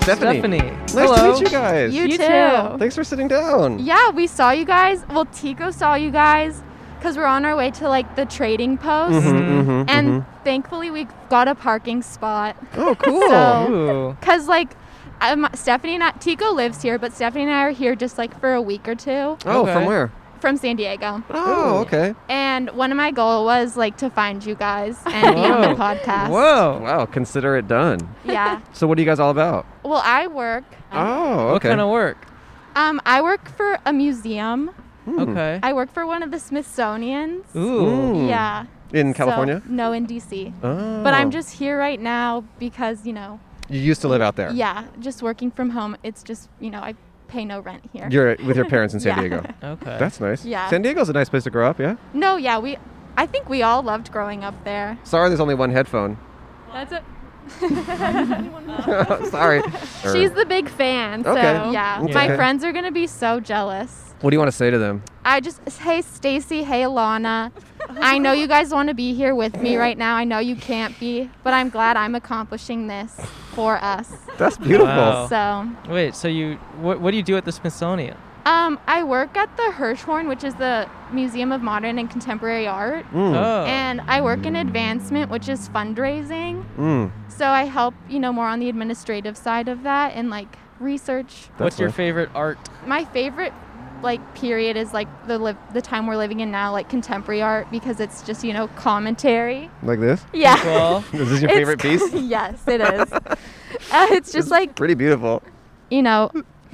Speaker 2: Stephanie.
Speaker 4: Stephanie.
Speaker 2: Nice
Speaker 4: Hello.
Speaker 2: to meet you guys.
Speaker 8: You,
Speaker 7: You
Speaker 8: too.
Speaker 7: too.
Speaker 2: Thanks for sitting down.
Speaker 8: Yeah, we saw you guys. Well, Tico saw you guys because we're on our way to like the trading post,
Speaker 2: Mhm, mhm,
Speaker 8: and
Speaker 2: mhm.
Speaker 8: thankfully we got a parking spot.
Speaker 2: Oh, cool.
Speaker 8: So,
Speaker 4: Ooh.
Speaker 8: cause like. Um, Stephanie and I, Tico lives here, but Stephanie and I are here just like for a week or two
Speaker 2: oh,
Speaker 4: Okay.
Speaker 2: from where?
Speaker 8: from San Diego.
Speaker 2: Oh, okay.
Speaker 8: And one of my goal was like to find you guys and be on
Speaker 4: Whoa.
Speaker 8: the podcast.
Speaker 4: Whoa.
Speaker 2: Wow, consider it done.
Speaker 8: Yeah.
Speaker 2: So, what are you guys all about?
Speaker 8: Well, I work.
Speaker 2: Oh,
Speaker 4: What
Speaker 2: okay.
Speaker 4: kind of work?
Speaker 8: Um, I work for a museum.
Speaker 2: Hmm.
Speaker 4: Okay.
Speaker 8: I work for one of the Smithsonians.
Speaker 4: Ooh.
Speaker 2: Mm.
Speaker 8: Yeah.
Speaker 2: In
Speaker 8: So-
Speaker 2: California?
Speaker 8: no, in DC.
Speaker 2: Oh.
Speaker 8: But I'm just here right now because, you know,
Speaker 2: You used to live out there.
Speaker 8: yeah, just working from home. It's just, you know, I pay no rent here.
Speaker 2: You're with your parents in San
Speaker 8: Yeah.
Speaker 2: Diego.
Speaker 4: Okay.
Speaker 2: Hmm. That's nice.
Speaker 8: Yeah.
Speaker 2: San Diego's a nice place to grow up, yeah?
Speaker 8: no, yeah, we I think we all loved growing up there.
Speaker 2: Sorry, there's only one headphone.
Speaker 8: That's it.
Speaker 2: Sorry. Er,
Speaker 8: She's the big fan,
Speaker 2: Okay.
Speaker 8: so yeah.
Speaker 2: Okay.
Speaker 8: My friends are going to be so jealous.
Speaker 2: what do you want to say to them?
Speaker 8: I just hey Stacy, hey Alana. I know you guys want to be here with me right now. I know you can't be, but I'm glad I'm accomplishing this for us.
Speaker 2: That's beautiful.
Speaker 4: Wow.
Speaker 8: So,
Speaker 4: Wait, so you what, what do you do at the Smithsonian?
Speaker 8: um, I work at the Hirshhorn, which is the Museum of Modern and Contemporary Art,
Speaker 2: Mm,
Speaker 4: Oh.
Speaker 8: and I work in advancement, which is fundraising.
Speaker 2: mm.
Speaker 8: So I help, you know, more on the administrative side of that and like research.
Speaker 4: What's
Speaker 2: That's
Speaker 4: your
Speaker 2: nice.
Speaker 4: favorite art?
Speaker 8: My favorite like period is like the live the time we're living in now like contemporary art because it's just you know commentary
Speaker 2: Like this?
Speaker 8: Yeah.
Speaker 4: Well,
Speaker 2: Is this your
Speaker 8: It's
Speaker 2: favorite piece?
Speaker 8: co- yes, it is. uh, it's just like,
Speaker 2: Pretty beautiful.
Speaker 8: you know,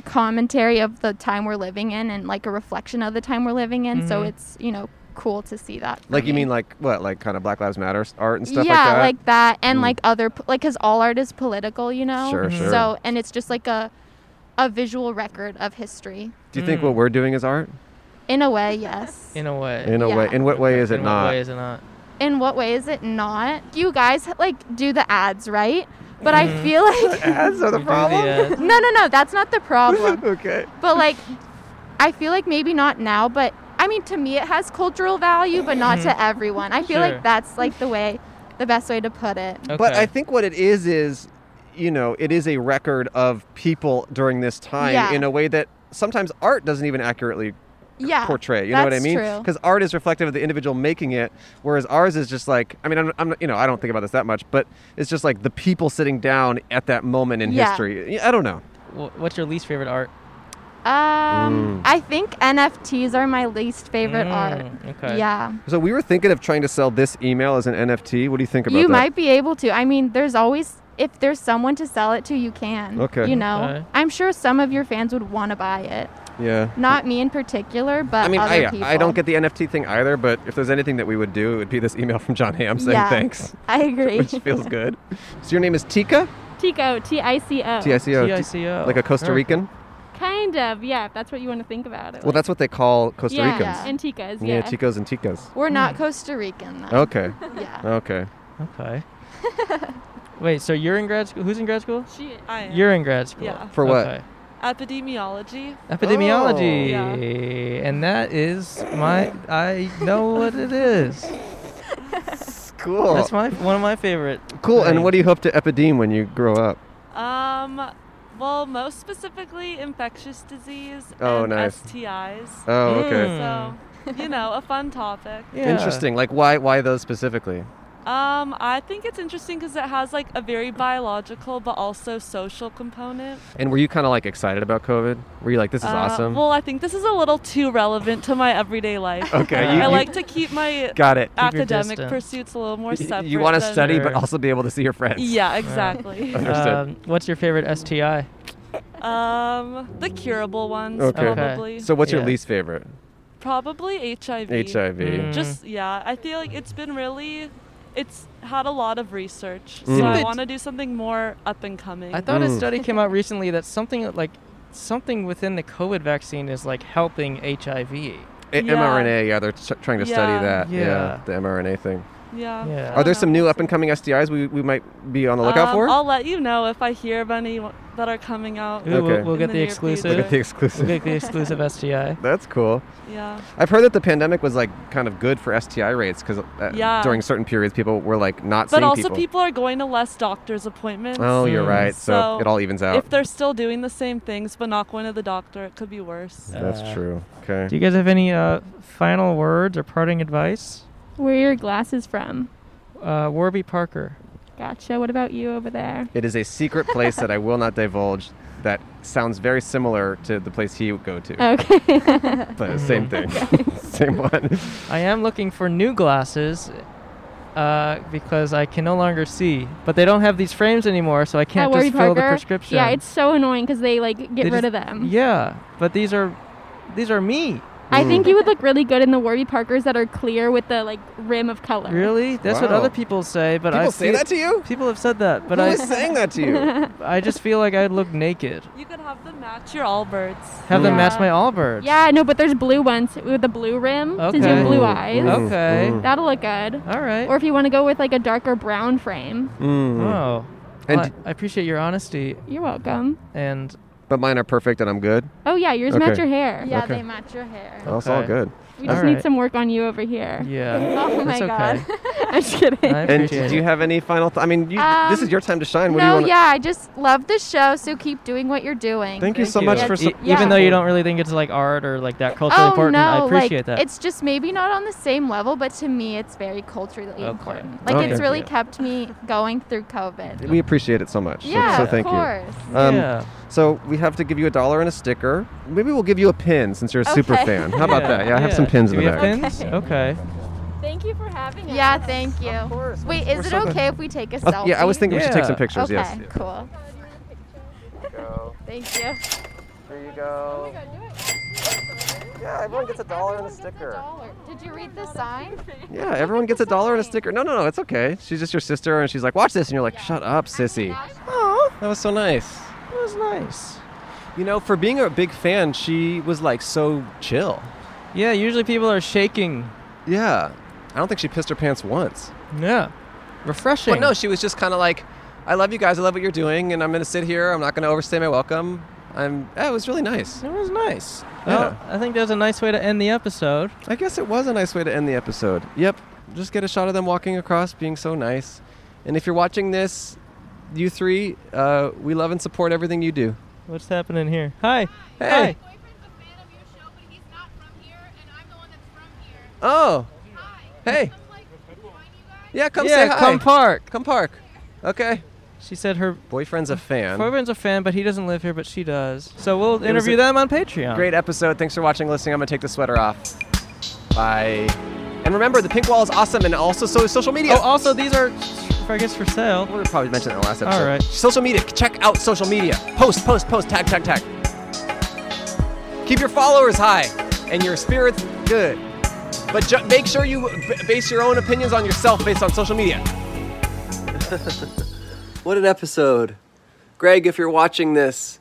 Speaker 8: commentary of the time we're living in and like a reflection of the time we're living in. So
Speaker 4: Mhm.
Speaker 8: it's, you know, cool to see that. for
Speaker 2: Mm-hmm. Like you
Speaker 8: me.
Speaker 2: mean like what? Like kind of Black Lives Matter s- art and stuff
Speaker 8: yeah,
Speaker 2: like that?
Speaker 8: like that, and
Speaker 2: Mm.
Speaker 8: like other, p- like, cause all art is political, you know. Mm-hmm.
Speaker 2: Sure, sure.
Speaker 8: So, and it's just like a, a visual record of history,
Speaker 2: do you think
Speaker 4: Mm.
Speaker 2: what we're doing is art?
Speaker 8: in a way. Yes.
Speaker 4: in a way.
Speaker 2: In a
Speaker 8: Yeah.
Speaker 2: way. In what way is it
Speaker 4: in
Speaker 2: not?
Speaker 4: What way is it not?
Speaker 8: in what way is it not? You guys like do the ads, right? But I feel like
Speaker 2: That's not the
Speaker 4: You do Mm-hmm. the,
Speaker 2: problem.
Speaker 4: uh,
Speaker 8: no, no, no. That's not the problem.
Speaker 2: okay.
Speaker 8: But like, I feel like maybe not now, but I mean, to me, it has cultural value, but not to everyone. I feel
Speaker 4: Mm-hmm. Sure. Uh,
Speaker 8: like that's like the way, the best way to put it.
Speaker 2: But
Speaker 4: Okay.
Speaker 2: I think what it is is, you know, it is a record of people during this time
Speaker 8: Yeah.
Speaker 2: in a way that sometimes art doesn't even accurately
Speaker 8: Yeah.
Speaker 2: portray. You know what I
Speaker 8: that's
Speaker 2: mean?
Speaker 8: true.
Speaker 2: Because art is reflective of the individual making it, whereas ours is just like I mean, I'm, I'm you know I don't think about this that much, but it's just like the people sitting down at that moment in
Speaker 8: Yeah.
Speaker 2: history. Yeah, I don't know.
Speaker 4: Wh- What's your least favorite art?
Speaker 2: Mm.
Speaker 8: Um, I think NFTs are my least favorite
Speaker 4: Mm,
Speaker 8: art.
Speaker 4: okay.
Speaker 8: Yeah.
Speaker 2: So we were thinking of trying to sell this email as an NFT. What do you think about
Speaker 8: You
Speaker 2: that?
Speaker 8: might be able to. I mean, there's always if there's someone to sell it to, you can.
Speaker 2: Okay.
Speaker 8: You know,
Speaker 4: Okay.
Speaker 8: I'm sure some of your fans would want to buy it.
Speaker 2: Yeah.
Speaker 8: Not me in particular, but
Speaker 2: I mean,
Speaker 8: other
Speaker 2: I,
Speaker 8: people.
Speaker 2: I don't get the NFT thing either, but if there's anything that we would do, it would be this email from John Ham saying
Speaker 8: Yeah.
Speaker 2: thanks,
Speaker 8: I agree.
Speaker 2: which feels good. So your name is Tika?
Speaker 9: Tico, T I C
Speaker 7: Oh.
Speaker 9: O.
Speaker 2: T I C O.
Speaker 4: TICO.
Speaker 2: Like a Costa
Speaker 4: Very
Speaker 2: Rican?
Speaker 9: Kind of, yeah, if that's what you want to think about it.
Speaker 2: Well, that's what they call Costa
Speaker 9: yeah,
Speaker 2: Ricans.
Speaker 8: Yeah.
Speaker 9: And Ticas,
Speaker 2: Yeah,
Speaker 9: yeah.
Speaker 2: Ticos and Ticas.
Speaker 8: We're not Costa Rican though.
Speaker 2: Hmm. Okay.
Speaker 8: Yeah.
Speaker 2: Okay.
Speaker 4: cool. Okay. Wait, so you're in grad school? Who's in grad school?
Speaker 10: She, I am.
Speaker 4: You're in grad school.
Speaker 10: Yeah.
Speaker 2: For what?
Speaker 4: Okay.
Speaker 10: Epidemiology.
Speaker 4: Epidemiology.
Speaker 2: Oh,
Speaker 10: Yeah.
Speaker 4: And that is my. I know what it is.
Speaker 2: Cool.
Speaker 4: That's my one of my favorite.
Speaker 2: cool. And
Speaker 4: things.
Speaker 2: what do you hope to epideme when you grow up?
Speaker 10: Um, well, most specifically, infectious disease
Speaker 2: Oh,
Speaker 10: and
Speaker 2: nice.
Speaker 10: STIs.
Speaker 2: Oh, okay.
Speaker 10: So, you know, a fun topic.
Speaker 4: Yeah.
Speaker 2: Interesting. Like, why why those specifically?
Speaker 10: Um, I think it's interesting because it has like a very biological but also social component.
Speaker 2: And were you kind of like excited about COVID? Were you like, this is
Speaker 10: Uh,
Speaker 2: awesome?
Speaker 10: Well, I think this is a little too relevant to my everyday life.
Speaker 2: okay.
Speaker 10: I
Speaker 2: you-
Speaker 10: like to keep my
Speaker 2: Got it.
Speaker 4: your
Speaker 10: academic
Speaker 4: distance.
Speaker 10: pursuits a little more
Speaker 2: Y-
Speaker 10: separate.
Speaker 2: you want to
Speaker 10: than-
Speaker 2: study, but
Speaker 4: Sure.
Speaker 2: also be able to see your friends.
Speaker 10: Yeah, exactly.
Speaker 2: Understood.
Speaker 4: Um, what's your favorite STI?
Speaker 10: um, the curable ones
Speaker 2: Okay. Okay.
Speaker 10: probably.
Speaker 2: So, what's your
Speaker 4: Yeah.
Speaker 2: least favorite?
Speaker 10: probably HIV.
Speaker 2: HIV.
Speaker 4: Mm.
Speaker 10: Just yeah, I feel like it's been really, it's had a lot of research.
Speaker 2: Mm.
Speaker 10: So I
Speaker 4: But-
Speaker 10: want to do something more up and coming.
Speaker 4: I thought a
Speaker 2: Mm.
Speaker 4: study came out recently that something like something within the COVID vaccine is like helping HIV.
Speaker 2: A-
Speaker 10: Yeah.
Speaker 2: mRNA, yeah, they're ch- trying to
Speaker 10: Yeah.
Speaker 2: study that.
Speaker 4: Yeah.
Speaker 2: the mRNA thing.
Speaker 10: Yeah.
Speaker 2: Are there some new up and coming STIs we, we might be on the lookout
Speaker 10: Um,
Speaker 2: for?
Speaker 10: I'll let you know if I hear of any w- that are coming out.
Speaker 4: Ooh, we'll,
Speaker 2: Okay.
Speaker 4: we'll
Speaker 10: In
Speaker 4: get
Speaker 10: the
Speaker 4: the,
Speaker 10: near
Speaker 4: exclusive.
Speaker 2: We'll get the exclusive.
Speaker 4: We'll get the exclusive SGI.
Speaker 2: That's cool.
Speaker 10: Yeah.
Speaker 2: I've heard that the pandemic was like kind of good for STI rates because uh,
Speaker 10: Yeah.
Speaker 2: during certain periods people were like not
Speaker 10: But
Speaker 2: seeing
Speaker 10: also,
Speaker 2: people.
Speaker 10: people. are going to less doctor's appointments.
Speaker 2: Oh, you're
Speaker 4: Mm.
Speaker 2: right. So, it all evens out.
Speaker 10: If they're still doing the same things but not going to the doctor, it could be worse.
Speaker 2: That's
Speaker 4: Uh,
Speaker 2: true. Okay.
Speaker 4: Do you guys have any uh, final words or parting advice?
Speaker 8: Where are your glasses from?
Speaker 4: Uh, Warby Parker.
Speaker 8: Gotcha. What about you over there?
Speaker 2: It is a secret place that I will not divulge. That sounds very similar to the place he would go to.
Speaker 10: Oh.
Speaker 8: Okay.
Speaker 2: But same thing, same one.
Speaker 4: I am looking for new glasses uh, because I can no longer see, but they don't have these frames anymore, so I can't
Speaker 8: At Warby
Speaker 4: just fill the
Speaker 8: Parker?
Speaker 4: prescription.
Speaker 8: Yeah, it's so annoying because they like get
Speaker 4: They
Speaker 8: rid
Speaker 4: just-
Speaker 8: of them.
Speaker 4: Yeah, but these are these are me.
Speaker 8: I think
Speaker 2: Hmm.
Speaker 8: you would look really good in the Warby Parkers that are clear with the like rim of color.
Speaker 4: Really? That's what
Speaker 2: Wow.
Speaker 4: other people say, but I
Speaker 2: People say
Speaker 4: feel-
Speaker 2: that to you?
Speaker 4: People have said that, but
Speaker 2: Who
Speaker 4: I
Speaker 2: is saying that to you?
Speaker 4: I just feel like I'd look naked.
Speaker 10: You could have them match your Allbirds.
Speaker 4: Have them match
Speaker 8: Yeah.
Speaker 4: my Allbirds.
Speaker 8: Yeah, no, but there's blue ones with the blue rim since you
Speaker 4: Okay.
Speaker 8: have blue
Speaker 4: Ooh,
Speaker 2: Mm.
Speaker 8: eyes.
Speaker 4: Okay.
Speaker 8: That'll look good.
Speaker 4: All right.
Speaker 8: Or if you want to go with like a darker brown frame,
Speaker 2: Mm.
Speaker 4: oh.
Speaker 2: And
Speaker 4: Well,
Speaker 2: d-
Speaker 4: I appreciate your honesty
Speaker 8: you're welcome.
Speaker 4: and
Speaker 2: But mine are perfect and I'm good.
Speaker 8: Oh yeah, yours match
Speaker 2: Okay.
Speaker 8: your hair.
Speaker 7: Yeah,
Speaker 2: Okay.
Speaker 7: they match your hair.
Speaker 2: That's all
Speaker 4: Okay.
Speaker 2: good.
Speaker 8: We just
Speaker 4: All
Speaker 8: need
Speaker 4: right.
Speaker 8: some work on you over here.
Speaker 4: yeah.
Speaker 7: Oh
Speaker 4: That's
Speaker 7: my god.
Speaker 4: okay.
Speaker 8: I'm just kidding.
Speaker 4: I
Speaker 2: And
Speaker 4: appreciate
Speaker 2: do you
Speaker 4: it.
Speaker 2: have any final? Th- I mean, you, this is
Speaker 7: Um,
Speaker 2: your time to shine. What do you
Speaker 7: no,
Speaker 2: want?
Speaker 7: yeah, I just love the show, so keep doing what you're doing.
Speaker 2: Thank you so
Speaker 4: you.
Speaker 2: much
Speaker 4: Yeah,
Speaker 2: for.
Speaker 4: E-
Speaker 2: Su-
Speaker 7: yeah.
Speaker 4: Even though you don't really think it's like art or like that culturally
Speaker 7: oh
Speaker 4: important,
Speaker 7: no,
Speaker 4: I appreciate
Speaker 7: like,
Speaker 4: that.
Speaker 7: It's just maybe not on the same level, but to me, it's very culturally
Speaker 4: Okay.
Speaker 7: important. Like
Speaker 2: Okay.
Speaker 7: it's really
Speaker 4: Yeah.
Speaker 7: kept me going through COVID.
Speaker 2: we appreciate it so much. So-
Speaker 7: yeah,
Speaker 2: so,
Speaker 7: of
Speaker 2: thank
Speaker 7: course.
Speaker 2: you. Um,
Speaker 4: yeah.
Speaker 2: So we have to give you a dollar and a sticker. Maybe we'll give you a pin since you're a super
Speaker 7: Okay.
Speaker 2: fan. How about that? Yeah, I have some pins
Speaker 4: Do we
Speaker 2: in the
Speaker 4: have
Speaker 2: back.
Speaker 4: pins? Okay.
Speaker 8: Thank you for having us.
Speaker 7: Yeah, thank you. Wait, is it okay if we take a selfie?
Speaker 2: Oh, yeah, I was thinking we should take some
Speaker 4: Yeah.
Speaker 2: pictures.
Speaker 7: Okay,
Speaker 2: Yes.
Speaker 7: cool. Thank you.
Speaker 2: There you
Speaker 7: Oh
Speaker 2: go. Yeah, everyone gets a dollar and a sticker.
Speaker 7: Did you read the sign?
Speaker 2: Yeah, everyone gets a dollar and a sticker. No, no, no, it's okay. She's just your sister, and she's like, "Watch this," and you're like, "Shut up, sissy."
Speaker 4: Oh,
Speaker 2: That was so nice.
Speaker 4: that was nice.
Speaker 2: You know, for being a big fan, she was like so chill.
Speaker 4: Yeah, usually people are shaking.
Speaker 2: Yeah, I don't think she pissed her pants once.
Speaker 4: Yeah. Refreshing.
Speaker 2: But no, she was just kind of like, "I love you guys. I love what you're doing, and I'm gonna sit here. I'm not gonna overstay my welcome." I'm. Yeah, it was really nice.
Speaker 4: It was nice.
Speaker 2: Yeah.
Speaker 4: Well, Oh, I think that was a nice way to end the episode.
Speaker 2: I guess it was a nice way to end the episode. Yep. Just get a shot of them walking across, being so nice. And if you're watching this, you three, uh, we love and support everything you do.
Speaker 4: What's happening here? Hi. Hi.
Speaker 2: Hey. Oh. Hey. Yeah, come say
Speaker 4: yeah,
Speaker 2: hi.
Speaker 4: come park.
Speaker 2: Come park. Okay.
Speaker 4: She said her
Speaker 2: Boyfriend's a fan.
Speaker 4: boyfriend's a fan, but he doesn't live here, but she does. So we'll
Speaker 2: was
Speaker 4: interview
Speaker 2: a-
Speaker 4: them on Patreon.
Speaker 2: Great episode. Thanks for watching, listening. I'm gonna take the sweater off. Bye. And remember, the pink wall is awesome, and also so is social media.
Speaker 4: Oh, also these are, I guess, for sale.
Speaker 2: We probably mentioned that in the last episode.
Speaker 4: right.
Speaker 2: Social media. Check out social media. Post, post, post. Tag, tag, tag. Keep your followers high and your spirits good. But ju- make sure you b- base your own opinions on yourself based on social media.
Speaker 11: What an episode. Greg, if you're watching this,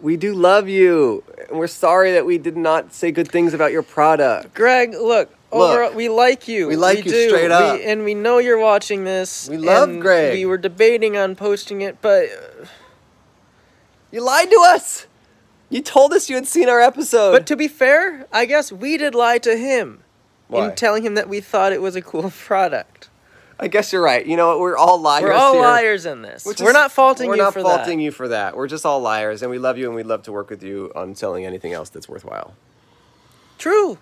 Speaker 11: we do love you. And we're sorry that we did not say good things about your product.
Speaker 4: Greg, look.
Speaker 11: overall,
Speaker 4: we like you.
Speaker 11: We like We you do. straight We- up.
Speaker 4: and we know you're watching this.
Speaker 11: We love and Greg. we were
Speaker 4: debating on posting it, but
Speaker 11: You lied to us. You told us you had seen our episode.
Speaker 4: But to be fair, I guess we did lie to him
Speaker 11: Why?
Speaker 4: in telling him that we thought it was a cool product.
Speaker 11: I guess you're right. You know what? We're all liars.
Speaker 4: We're all
Speaker 11: here.
Speaker 4: liars in this.
Speaker 11: Which
Speaker 4: we're
Speaker 11: is-
Speaker 4: not faulting
Speaker 11: we're
Speaker 4: you
Speaker 11: not
Speaker 4: for
Speaker 11: faulting
Speaker 4: that.
Speaker 11: you for that. We're just all liars, and we love you, and we'd love to work with you on selling anything else that's worthwhile.
Speaker 4: True.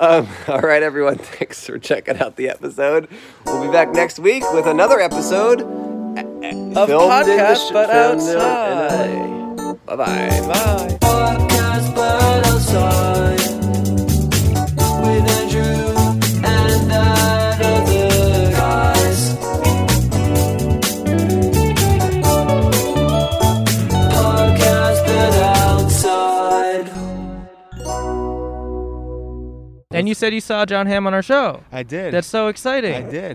Speaker 11: Um, all right, everyone. Thanks for checking out the episode. We'll be back next week with another episode
Speaker 4: Of
Speaker 11: filmed in the
Speaker 4: podcast,
Speaker 11: sh-
Speaker 4: but
Speaker 11: filmed in
Speaker 4: outside.
Speaker 11: LA. Bye bye.
Speaker 4: Bye.
Speaker 12: podcast but outside with Andrew and that other guys. Podcast but outside.
Speaker 4: And you said you saw John Hamm on our show.
Speaker 5: I did.
Speaker 4: That's so exciting.
Speaker 5: I did.